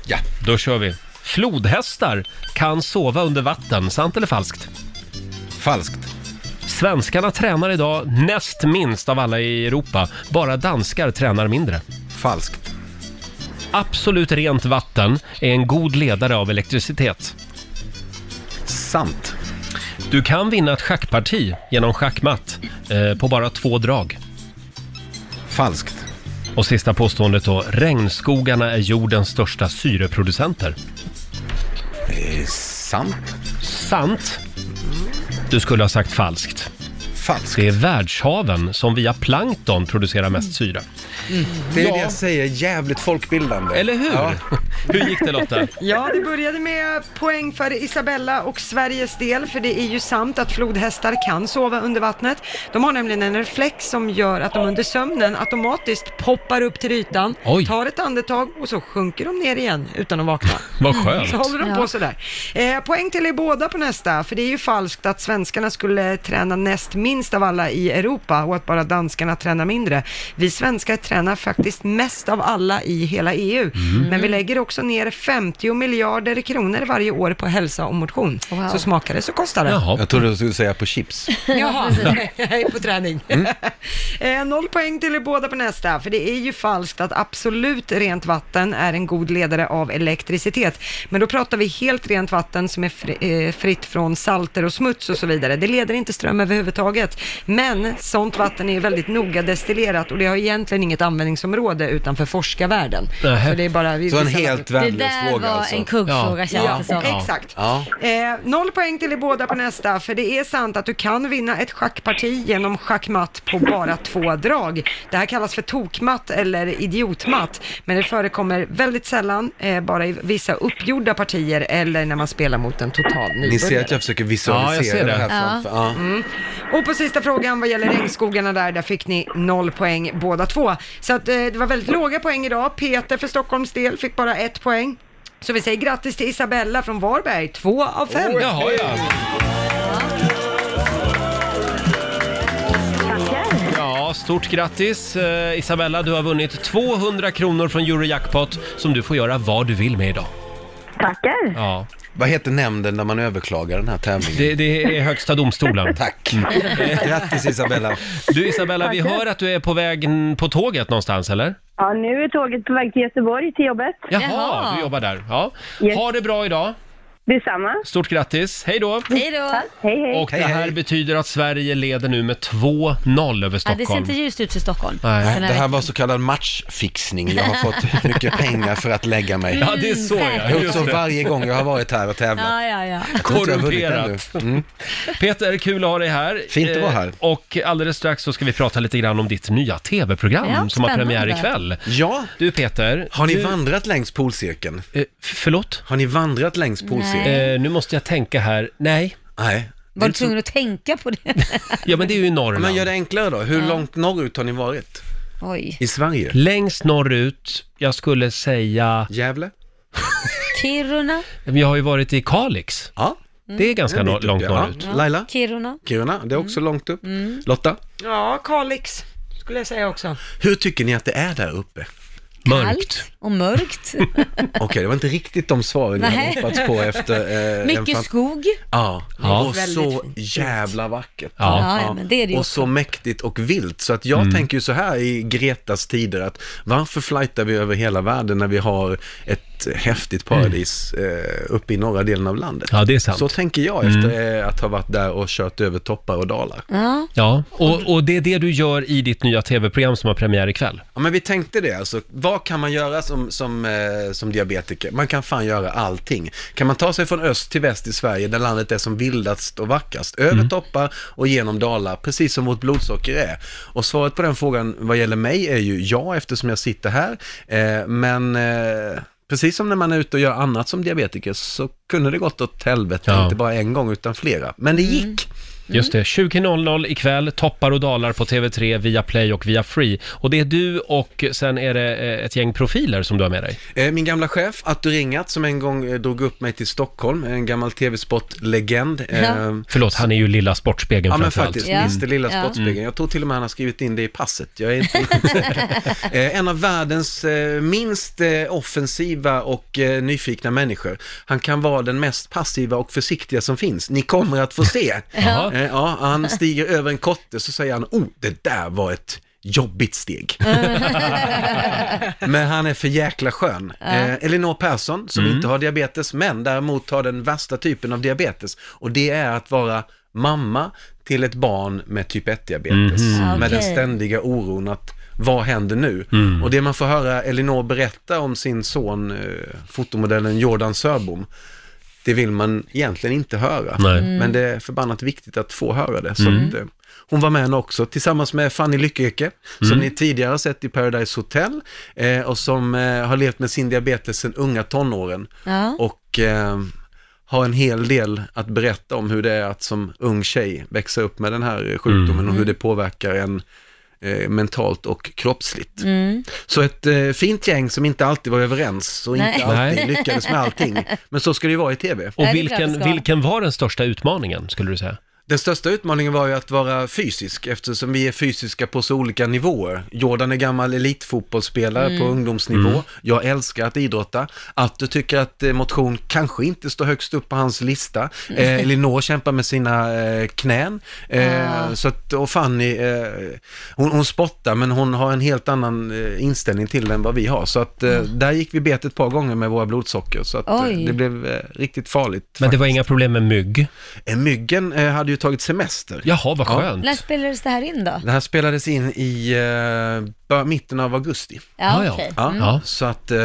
Ja.
Då kör vi. Flodhästar kan sova under vatten, sant eller falskt?
Falskt.
Svenskarna tränar idag näst minst av alla i Europa. Bara danskar tränar mindre.
Falskt.
Absolut rent vatten är en god ledare av elektricitet.
Sant.
Du kan vinna ett schackparti genom schackmatt eh, på bara två drag.
Falskt.
Och sista påståendet då. Regnskogarna är jordens största syreproducenter.
Eh, sant.
Sant. Du skulle ha sagt falskt.
Falskt.
Det är världshaven som via plankton producerar mest syre.
Det är det jag säger, jävligt folkbildande.
Eller hur?
Ja.
*laughs* Hur gick det Lotta?
Ja, det började med poäng för Isabella och Sveriges del, för det är ju sant att flodhästar kan sova under vattnet. De har nämligen en reflex som gör att de under sömnen automatiskt poppar upp till ytan,
Oj.
tar ett andetag och så sjunker de ner igen utan att vakna.
Vad skönt.
Så håller de på sådär. Eh, poäng till er båda på nästa, för det är ju falskt att svenskarna skulle träna näst minst av alla i Europa och att bara danskarna tränar mindre. Vi svenskar tränar faktiskt mest av alla i hela EU, men vi lägger också ner 50 miljarder kronor varje år på hälsa och motion.
Wow.
Så smakar det så kostar det.
Jaha.
Jag trodde du skulle säga på chips.
Jaha, *laughs* jag är på träning.
Mm.
*laughs* eh, noll poäng till er båda på nästa, för det är ju falskt att absolut rent vatten är en god ledare av elektricitet. Men då pratar vi helt rent vatten som är fri, eh, fritt från salter och smuts och så vidare. Det leder inte ström överhuvudtaget. Men sånt vatten är ju väldigt noga destillerat och det har egentligen inget användningsområde utanför forskarvärlden.
Nähä.
Så det är bara... vi-
Så en
vissa-
helt
Det
värdelös
där var
fråga alltså.
en kuggfråga
Ja.
känns
Ja,
det som.
exakt.
Ja.
Eh, noll poäng till er båda på nästa, för det är sant att du kan vinna ett schackparti genom schackmatt på bara två drag. Det här kallas för tokmatt eller idiotmatt, men det förekommer väldigt sällan, eh, bara i vissa uppgjorda partier eller när man spelar mot en total
Ni ser att
nybörjare.
jag försöker visualisera
ser
det.
det.
här
Ja.
framför. Ja.
Och på sista frågan vad gäller regnskogarna där, där fick ni noll poäng båda två. Så att, eh, det var väldigt låga poäng idag. Peter för Stockholms del fick bara ett poäng. Så vi säger grattis till Isabella från Varberg, två av fem.
Jaha, ja.
Tackar.
ja, stort grattis eh, Isabella. Du har vunnit 200 kronor från Eurojackpot som du får göra vad du vill med idag.
Tackar.
Ja,
Vad heter nämnden när man överklagar den här tävlingen?
det, det är Högsta domstolen.
Tack. Grattis Isabella.
Du Isabella, vi hör att du är på väg n- på tåget någonstans eller?
Ja, nu är tåget på väg till Göteborg till jobbet.
Jaha,
Jaha.
du jobbar där. Ja.
Yes.
Ha det bra idag.
Detsamma.
Stort grattis, hej då!
Hej då!
Hej, hej.
Och det här
hej.
betyder att Sverige leder nu med 2-0 över
Ja, det ser
Stockholm.
inte ljust ut för Stockholm.
Nej,
den här
Det här
veckan.
var så kallad matchfixning. Jag har fått mycket pengar för att lägga mig.
Ja, det är så
Mm,
ja.
Jag har gjort
Just
så
det.
varje gång jag har varit här och tävlat.
Ja, ja, ja.
Jag tror inte jag har vunnit
Korrumperat.
ännu. Mm.
Peter, kul att ha dig här.
Fint att vara här.
Eh, Och alldeles strax så ska vi prata lite grann om ditt nya tv-program
Ja,
som har
spännande.
premiär ikväll.
Ja,
Du Peter,
har ni
du,
vandrat längs polcirkeln?
eh, f- förlåt?
Har ni vandrat längs polcirkeln?
Eh, nu måste jag tänka här. Nej,
Nej.
Var du tvungen att tänka på det? *laughs*
ja men det är
*laughs*
ju i Norrland.
Men gör det enklare då. Hur långt norrut har ni varit?
Oj.
I Sverige?
Längst norrut, jag skulle säga,
Gävle?
Kiruna,
jag har ju varit i Kalix.
Ja.
Mm.
Det är ganska
Det är
no-
lite
långt
upp, ja.
norrut.
Ja. Laila?
Kiruna.
Kiruna, det är
Mm.
också långt upp. Lotta,
Ja, Kalix skulle jag säga också.
hur tycker ni att det är där
*laughs*
uppe?
Mörkt.
Kallt och mörkt.
Okej, det var inte riktigt de svaren jag
Nej.
hade hoppats på efter... Eh, en
Mycket
fant-
skog.
Ja,
Ja.
och så jävla vackert.
Ja. Mm.
Ja, ja, men det är det ju
och så mäktigt och vilt. Så att jag tänker ju så här i Gretas tider att varför flightar vi över hela världen när vi har ett häftigt paradis eh, uppe i norra delen av landet?
Mm. Ja, det är sant. Mm.
Så tänker jag efter eh, att ha varit där och kört över toppar och dalar.
Ja.
Ja, och, och det är det du gör i ditt nya tv-program som har premiär ikväll.
Ja, men vi tänkte det alltså. Vad kan man göra som, som, eh, som diabetiker? Man kan fan göra allting. Kan man ta sig från öst till väst i Sverige, där landet är som vildast och vackrast, över toppar och genom dalar, precis som vårt blodsocker är? Och svaret på den frågan vad gäller mig är ju ja, eftersom jag sitter här. Eh, men eh, precis som när man är ute och gör annat som diabetiker så kunde det gått åt helvete,
Ja.
inte bara en gång utan flera. Men det gick. Mm.
Just det, 20.00 ikväll, toppar och dalar på TV3, via Play och via Free. Och det är du och sen är det eh, ett gäng profiler som du har med dig.
Eh, Min gamla chef, Atto Ringat, som en gång eh, drog upp mig till Stockholm, en gammal tv-sport-legend. Eh,
Ja.
Förlåt, han är ju lilla Sportspegeln
Ja men
framförallt.
faktiskt,
Ja.
Mr Lilla
Ja.
Sportspegeln. Jag tror till och med han har skrivit in det i passet. Jag är
*laughs*
inte riktigt säker. Eh, en av världens eh, minst eh, offensiva och eh, nyfikna människor. Han kan vara den mest passiva och försiktiga som finns. Ni kommer att få se.
*laughs*
Jaha.
Eh, ja, han stiger över en kotte så säger han, oh, det där var ett
*laughs*
jobbigt steg. men han är för jäkla skön. Eh, Elinor Persson, som inte har diabetes, men däremot har den värsta typen av diabetes. Och det är att vara mamma till ett barn med typ 1-diabetes.
Mm.
Med den
Okej.
ständiga oron att vad händer nu? Och det man får höra Elinor berätta om sin son, eh, fotomodellen Jordan Sörbom, det vill man egentligen inte höra.
Nej.
Mm.
Men det är förbannat viktigt att få höra det. Så att, eh, hon var med henne också, tillsammans med Fanny Lyckeke, som ni tidigare har sett i Paradise Hotel eh, och som eh, har levt med sin diabetes sedan unga tonåren.
Ja.
Och eh, har en hel del att berätta om hur det är att som ung tjej växa upp med den här eh, sjukdomen och
Mm.
hur det påverkar en eh, mentalt och kroppsligt.
Mm.
Så ett eh, fint gäng som inte alltid var överens och
Nej.
inte alltid lyckades med allting. Men så ska det ju vara i tv.
Och
Nej, det är klart det
vilken,
ska.
vilken var den största utmaningen, skulle du säga?
Den största utmaningen var ju att vara fysisk eftersom vi är fysiska på så olika nivåer. Jordan är gammal elitfotbollsspelare på ungdomsnivå.
Mm.
Jag älskar att idrotta. Att du tycker att eh, motion kanske inte står högst upp på hans lista. Eh, Elinor kämpar med sina eh, knän. Eh, så att, och Fanny, eh, hon, hon spottar men hon har en helt annan eh, inställning till den vad vi har. Så att eh, där gick vi bet ett par gånger med våra blodsocker. Så att, eh,
Oj.
det blev eh, riktigt farligt.
Men det var inga problem med mygg.
Eh, Myggen eh, hade ju tagit semester.
Jaha, vad
Ja.
skönt.
När spelades det här in då?
Det här spelades in i eh, bör- mitten av augusti.
Ja,
Ja,
ja.
okej.
Ja,
Mm.
Så att eh,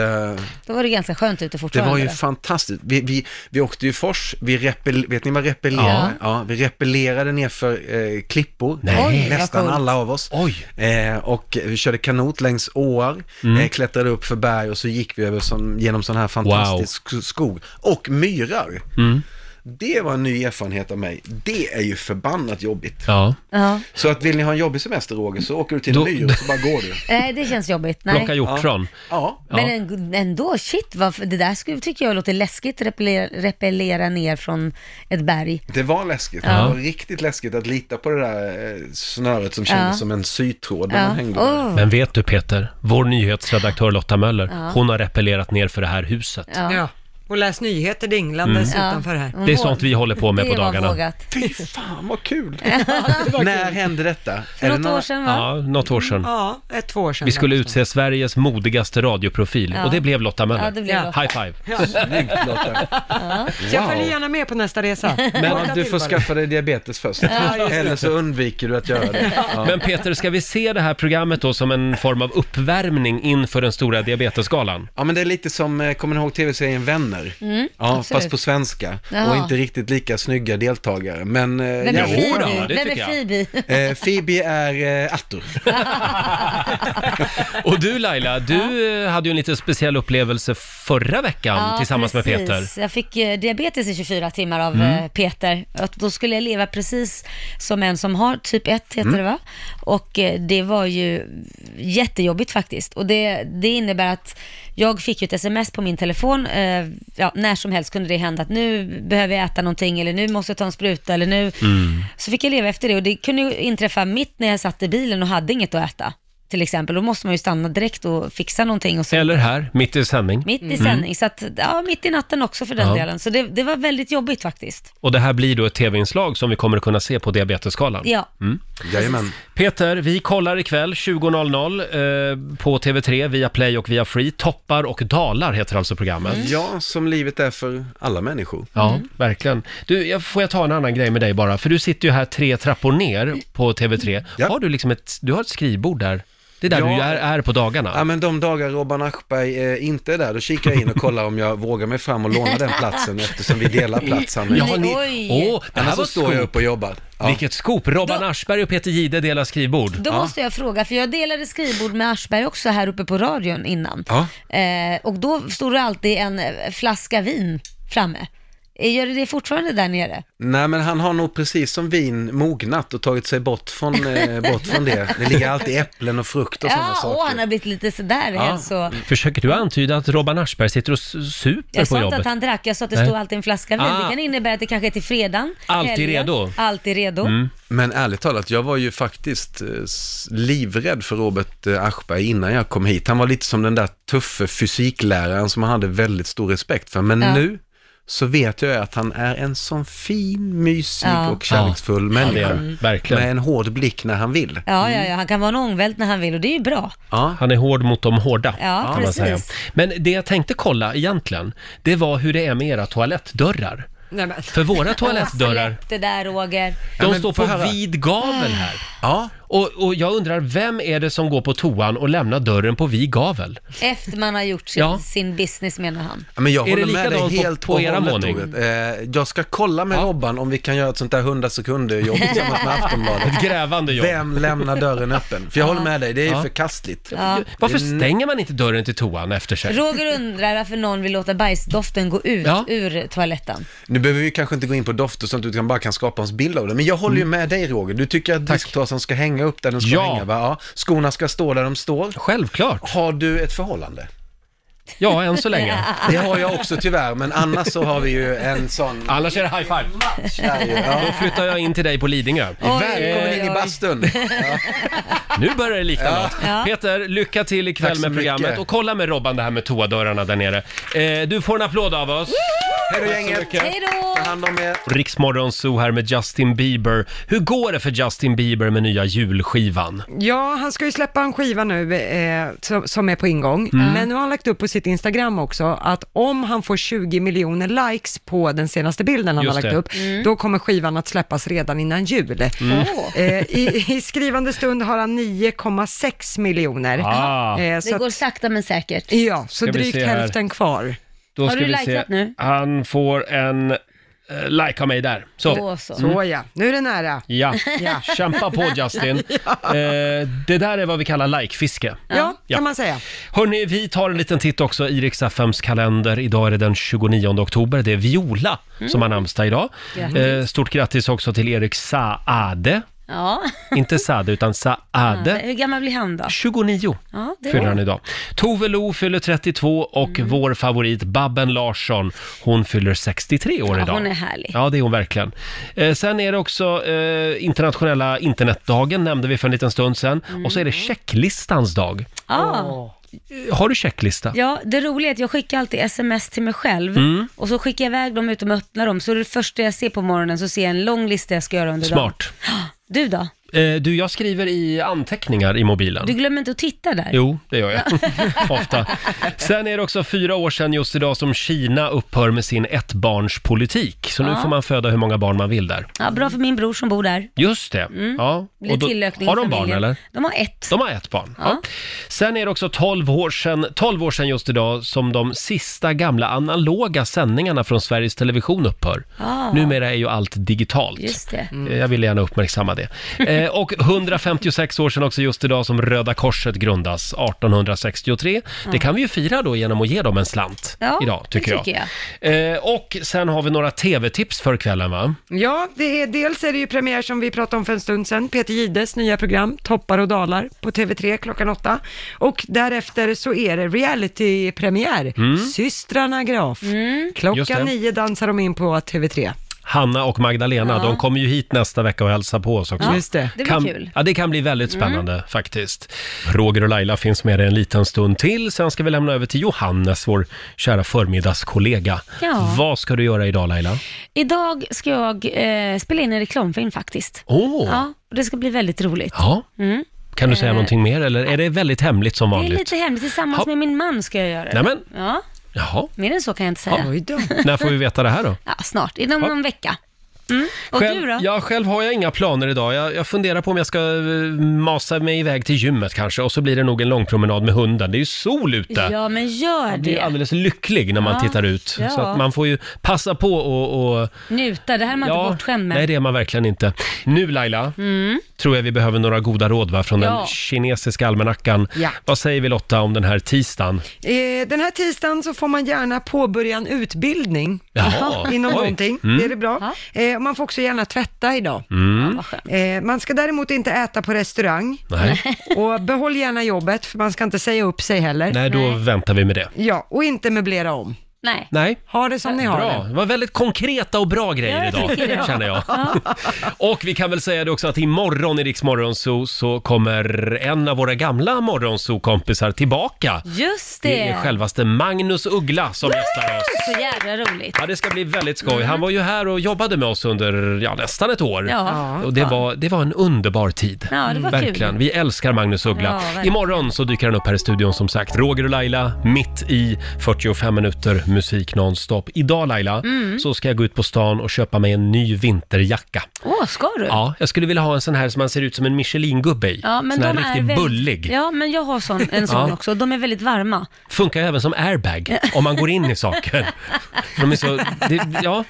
Då var det ganska skönt ute
det
fortfarande.
var ju
då.
fantastiskt. Vi, vi, vi åkte ju fors, vi repel, vet ni vad repellerade?
Ja.
Ja. vi repellerade nerför eh, klippor,
Nej. Oj,
vad
nästan
coolt.
alla av oss.
Oj.
Eh, och vi körde kanot längs åar, eh, klättrade upp för berg och så gick vi över som, genom sån här fantastisk sk- skog. Och myrar. Det var en ny erfarenhet av mig. Det är ju förbannat jobbigt.
Ja,
ja.
Så att vill ni ha en jobbig semester Roger så åker du till
Då-
en myr och så bara går du.
Nej, det känns jobbigt. Nej.
plocka hjortron.
Ja,
Ja.
Men en- ändå, shit, vad, det där skulle, tycker jag låter läskigt, repellera, repellera ner från ett berg.
det var läskigt.
Ja.
Det var riktigt läskigt att lita på det där eh, snöret som kändes
Ja.
som en sytråd när
Ja.
man hängde där.
Oh.
Men vet du Peter, vår nyhetsredaktör Lotta Möller, hon har repellerat ner för det här huset.
Ja.
Ja. Och läs nyheter
Mm.
dinglandes
Ja.
utanför här.
Hon
Det är
våg-
sånt vi håller på med på
Det var
dagarna.
vågat.
Fy fan vad kul!
*laughs*
När hände detta?
För
Är det
något
några-
år sedan va?
Ja, något år sedan.
Ja, ett två år sedan.
Vi skulle utse Sveriges modigaste radioprofil
Ja.
och det blev Lotta Möller.
Ja, det blev
Ja.
Lotta.
High five!
Snyggt Lotta.
Så jag
Wow.
följer gärna med på
*laughs*
nästa resa.
Men du får skaffa dig diabetes först. Eller så undviker du att göra det. Ja.
Men Peter, ska vi se det här programmet då som en form av uppvärmning inför den stora diabetesgalan?
Ja men det är lite som, eh, kommer ni ihåg tv-serien Vänner? ja,
Mm, absolut.
fast på svenska.
Jaha.
Och inte riktigt lika snygga deltagare. Men, eh,
Vem är
Jo,
jävligt bra.
då, det
Phoebe? Vem
tycker
är
jag.
Phoebe?
Eh, Phoebe är eh, Arthur.
Och du Laila, du eh, hade ju en lite speciell upplevelse förra veckan tillsammans med
precis.
Peter. Mm.
Jag fick eh, diabetes i 24 timmar av eh, Peter. Att då skulle jag leva precis som en som har typ 1, heter
Mm.
det va? Och eh, det var ju jättejobbigt faktiskt. Och det, det innebär att jag fick ju ett sms på min telefon, eh, ja, när som helst kunde det hända att nu behöver jag äta någonting eller nu måste jag ta en spruta eller nu.
Mm.
Så fick jag leva efter det och det kunde ju inträffa mitt när jag satt i bilen och hade inget att äta. Till exempel, då måste man ju stanna direkt och fixa någonting och så
Eller här, mitt i sändning.
mitt i sändning, så att, ja, mitt i natten också för den
Mm. Ja.
delen. Så det, det var väldigt jobbigt faktiskt.
Och det här blir då ett tv-inslag som vi kommer att kunna se på diabetesgalan.
Ja,
Jajamän.
Peter, vi kollar ikväll 20.00 eh, på TV3 via Play och via Free. Toppar och dalar heter alltså programmet.
Ja, som livet är för alla människor.
Ja,
Mm.
verkligen. Du, jag, får jag ta en annan grej med dig bara? För du sitter ju här tre trappor ner på TV3.
Ja.
Har du liksom ett, du har ett skrivbord där? Det är där
Ja.
du är, är på dagarna.
Ja men de dagar Robban Aschberg eh, inte är där, då kikar jag in och kollar om jag vågar mig fram och låna den platsen eftersom vi delar plats han och jag.
har
Oj.
Åh, det här
Annars
var
så
ett
står jag
scoop.
upp och jobbar. Ja.
Vilket scoop! Robban
Då-
Aschberg och Peter Jihde delar skrivbord.
då måste jag fråga, för jag delade skrivbord med Aschberg också här uppe på radion innan.
Ja.
Eh, och då stod det alltid en eh, flaska vin framme. Eh, Gör det det fortfarande där nere?
Nej men han har nog precis som vin mognat och tagit sig bort från, eh, bort från det. Det ligger alltid äpplen och frukt och sådana
Ja, och
saker.
han har blivit lite sådär
Ja.
hälso...
Försöker du antyda att Robban Aschberg sitter och s- super
Jag
på
sa inte
jobbet?
att han drack, jag sa att det
Nej.
stod alltid en flaska vin.
Ah.
Det kan innebära att det kanske är till fredagen.
Alltid
helgen.
redo. Mm.
Alltid redo.
Men ärligt talat, jag var ju faktiskt eh, s- livrädd för Robert eh, Aschberg innan jag kom hit. Han var lite som den där tuffe fysikläraren som man hade väldigt stor respekt för. Men
Ja.
nu så vet jag att han är en sån fin, mysig
Ja.
och kärleksfull
Ja, det är
människa.
han. Verkligen.
Med en hård blick när han vill.
Ja,
Mm.
ja, ja, han kan vara en ångvält när han vill och det är ju bra.
Ja.
Han är hård mot de hårda,
Ja,
kan man
precis.
säga. Men det jag tänkte kolla egentligen, det var hur det är med era toalettdörrar.
Nej, men.
För
*laughs*
våra toalettdörrar,
Släpp det där Roger.
de
Ja, men
står
få
på
höra.
vid gavel här.
ja.
Och, och jag undrar, vem är det som går på toan och lämnar dörren på vid gavel?
Efter man har gjort sin,
Ja.
sin business menar han.
Ja, Men jag
Är
håller
det
med dig
likadant på-
helt
på
och
era
hållet,
våning?
Robert. Eh, Jag ska kolla med
Ja.
Robban om vi kan göra ett sånt där 100 sekunder jobb
*laughs*
tillsammans med Aftonbladet.
Ett grävande jobb.
Vem lämnar dörren öppen? För jag håller med dig, det är ju
Ja.
förkastligt.
Varför stänger man inte dörren till toan efter sig?
Roger undrar varför någon vill låta bajsdoften gå ut
Ja.
ur toaletten.
Nu behöver vi kanske inte gå in på doft och sånt, utan bara kan skapa oss bild av det. Men jag håller ju med dig Roger, du tycker att disktrasan ska hänga upp där den ska
Ja.
hänga va? Ja. Skorna ska stå där de står.
Självklart.
Har du ett förhållande?
Ja, än så länge.
Det har jag också tyvärr, men annars så har vi ju en sån...
Annars är det high five.
Ja.
Då flyttar jag in till dig på Lidingö.
Välkommen in i bastun!
Nu börjar det likna något. Peter, lycka till
Tack
ikväll
så
med
mycket.
programmet och kolla med Robban det här med toadörrarna där nere. Eh, du får en applåd av oss.
Hej då gänget!
Hej då!
Ta hand om er!
Riksmorgon Zoo här med Justin Bieber. Hur går det för Justin Bieber med nya julskivan?
Ja, han ska ju släppa en skiva nu eh, som, som är på ingång,
Mm.
men nu har han lagt upp på sitt Instagram också att om han får 20 miljoner likes på den senaste bilden han
Just
har lagt
det. Mm.
upp,
Mm.
då kommer skivan att släppas redan innan jul. Eh, i, I skrivande stund har han 9,6 miljoner.
Ah.
Eh,
Det
så
går
att,
sakta men säkert.
ja,
Ska
så
vi se
drygt
här. Mm.
hälften kvar.
Då
Har
ska
du
vi
likat
se.
nu?
Han får en eh, like av mig där. Så.
Då så.
Så ja, nu är det nära.
*laughs*
Ja, kämpa på Justin. Eh, det där är vad vi kallar likefiske.
Ja,
Ja.
kan man säga.
Hörni, vi tar en liten titt också i Rix FMs kalender. Idag är det den 29 oktober. Det är Viola som har namnsdag idag.
Mm. Grattis.
Eh, stort grattis också till Erik Saade.
Ja.
Inte Saade, utan Saade.
*laughs* Hur gammal blir han då?
29
Ja, det Mm.
fyller han
är
idag. Tove Lo fyller 32 och vår favorit Babben Larsson, hon fyller 63 år
Ja,
idag.
hon är härlig.
Ja, det är hon verkligen. Eh, sen är det också eh,
Mm.
internationella internetdagen, nämnde vi för en liten stund sedan. Och så är det checklistans dag.
Ja.
har du checklista?
Ja, det roliga är att jag skickar alltid sms till mig själv
Mm.
och så skickar jag iväg dem utan att öppna dem. Så det första jag ser på morgonen så ser jag en lång lista jag ska göra under dagen.
Smart.
Du då?
Eh, du, jag skriver i anteckningar i mobilen.
Du glömmer inte att titta där?
Jo, det
*laughs*
gör jag. Ofta. Sen är det också fyra år sedan just idag som Kina upphör med sin ettbarnspolitik. Så nu
Ja.
får man föda hur många barn man vill där.
Ja, bra för min bror som bor där.
Just det. Ja.
Mm. Blir
Och då-
tillökning i
har de barn
familjen.
eller?
De har ett.
De har ett barn. Ja.
Ja.
Sen är det också 12 år, sedan, 12 år sedan just idag som de sista gamla analoga sändningarna från Sveriges Television upphör.
Ah.
Numera är ju allt digitalt.
Just det. Mm.
Eh, Jag ville gärna uppmärksamma
*laughs*
det. Eh, och 156 år sedan också just idag som Röda Korset grundas, 1863. Det kan vi ju fira då genom att ge dem en slant
Ja,
idag,
det
tycker jag.
tycker
Eh, och sen har vi några tv-tips för kvällen, va?
Ja, det är, dels är det ju premiär som vi pratade om för en stund sedan, Peter Gides nya program Toppar och dalar på TV3 klockan åtta. Och därefter så är det realitypremiär, Systrarna Graf.
Mm. Just det.
Klockan nio dansar de in på TV3.
Hanna och Magdalena, de kommer ju hit nästa vecka och hälsar på oss också.
Ja, Just det.
det blir
kan,
kul. Mm.
Ja, det kan bli väldigt spännande faktiskt. Roger och Laila finns med dig en liten stund till. Sen ska vi lämna över till Johannes, vår kära förmiddagskollega.
Ja.
Vad ska du göra idag Laila?
Idag ska jag eh, spela in en reklamfilm faktiskt.
Åh!
Ja, och det ska bli väldigt roligt.
Ja.
Mm.
Kan du säga någonting mer eller är det väldigt hemligt som
Det är
vanligt?
lite hemligt. Tillsammans
Ha-
med min man ska jag göra det.
Nej, men.
Ja,
Jaha.
mer än så kan jag inte säga.
Oj då.
När får vi veta det
*laughs*
här då?
Ja, snart. Inom
Ja.
någon vecka. Mm. Och du då?
Ja, själv har jag inga planer idag. Jag, jag funderar på om jag ska eh, masa mig iväg till gymmet kanske och så blir det nog en lång promenad med hunden. Det är ju sol ute.
Ja, men gör
blir
det.
alldeles lycklig när man
Ja.
tittar ut.
Ja.
Så att man får ju passa på och... och
Njuta, det här är man inte bortskämd med. Mm.
nej det är man verkligen inte. Nu Laila, tror jag vi behöver några goda råd va, från
Ja.
den kinesiska almanackan.
Ja.
Vad säger vi Lotta om den här tisdagen?
Eh, den här tisdagen så får man gärna påbörja en utbildning
*laughs*
Jaha.
inom
Oj. Mm.
någonting. Det är det bra. Eh, man får också gärna tvätta idag.
Ja, vad skönt.
Eh, man ska däremot inte äta på restaurang.
*laughs*
Nej,
Och behåll gärna jobbet, för man ska inte säga upp sig heller.
nej då väntar vi med det.
Ja, och inte möblera om.
Nej.
Nej.
Ha det som ni har
Bra,
det.
det var väldigt konkreta och bra grejer
Ja, jag
idag,
tycker det.
*laughs* känner jag. Och vi kan väl säga det också att imorgon i Rix Morgonzoo så kommer en av våra gamla Morgonzoo-kompisar tillbaka.
Just det.
Det är självaste Magnus Uggla som gästar oss.
Så jävla roligt.
Ja, det ska bli väldigt skoj. Han var ju här och jobbade med oss under ja, nästan ett år.
Mm. Ja.
Och det var, det var en underbar tid.
Ja, det var
verkligen.
kul.
Vi älskar Magnus
Ja,
Uggla.
verkligen.
Imorgon så dyker han upp här i studion som sagt. Roger och Laila, mitt i 45 minuter musik nonstop. Idag Laila,
Mm.
så ska jag gå ut på stan och köpa mig en ny vinterjacka.
Åh, ska du?
Ja, jag skulle vilja ha en sån här som man ser ut som en Michelin-gubbe i.
Ja, men
sån här
de är
riktigt
väldigt-
bullig.
Ja, men jag har sån, en sån
Ja.
också. De är väldigt varma.
Funkar ju även som airbag om man går in i saker. De är så, det, ja,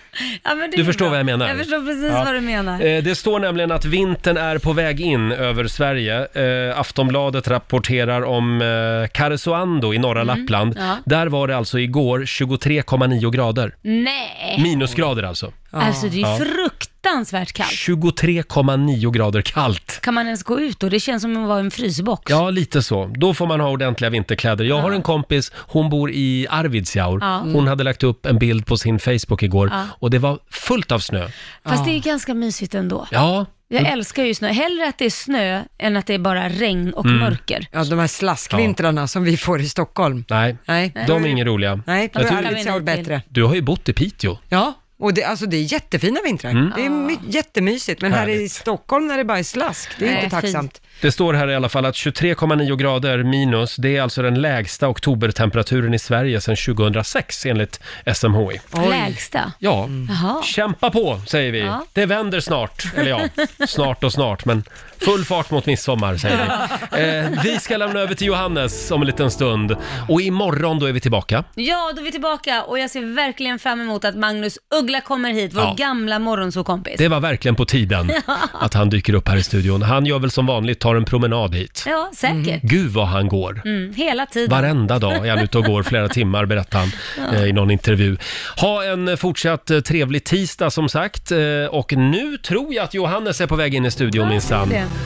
Ja, men det
Du
är
förstår
bra.
vad jag menar.
Jag förstår precis
Ja.
vad du menar.
Eh, Det står nämligen att vintern är på väg in över Sverige. Eh, Aftonbladet rapporterar om eh, Karesuando i norra Lappland.
Mm, ja.
Där var det alltså igår 23,9 grader.
Nej,
Minusgrader alltså.
alltså det är
Ja.
fruktansvärt kallt.
23,9 grader kallt.
Kan man ens gå ut då? Det känns som att vara i en frysbox.
Ja, lite så. Då får man ha ordentliga vinterkläder. Jag har en kompis, hon bor i Arvidsjaur.
Ja.
Hon hade lagt upp en bild på sin Facebook igår
Ja.
och det var fullt av snö.
Fast det är ganska mysigt ändå.
Ja,
Jag älskar ju snö. Hellre att det är snö än att det är bara regn
Mm.
och mörker.
Ja, de här slaskvintrarna som vi får i Stockholm.
nej.
Nej,
De är inga roliga.
Nej då
Jag
är
tror,
Arvidsjaur
Vi nej till.
bättre.
du har ju bott i Piteå.
Ja, och det, alltså, det är jättefina vintrar. Det är my- jättemysigt, men här i
Härligt.
Stockholm när det bara är slask, det är
Nej,
inte tacksamt.
Det står här i alla fall att 23,9 grader minus, det är alltså den lägsta oktobertemperaturen i Sverige sedan 2006 enligt SMHI.
Lägsta.
Ja,
Jaha.
kämpa på säger vi.
Mm. Ja.
Det vänder snart, eller ja, snart och snart, men full fart mot midsommar säger vi. Eh, vi ska lämna över till Johannes om en liten stund och imorgon då är vi tillbaka.
Ja, då är vi tillbaka och jag ser verkligen fram emot att Magnus Uggla kommer hit, vår
Ja.
gamla morgonsåkompis.
Det var verkligen på tiden att han dyker upp här i studion. Han gör väl som vanligt, tar en promenad hit.
Ja, säkert.
Gud vad han går.
Mm, hela tiden.
Varenda dag Mhm. är han ute och går flera timmar, berättar han eh, i någon intervju. Ha en eh, fortsatt eh, trevlig tisdag som sagt. Eh, och nu tror jag att Johannes är på väg in i studion minsann.
det.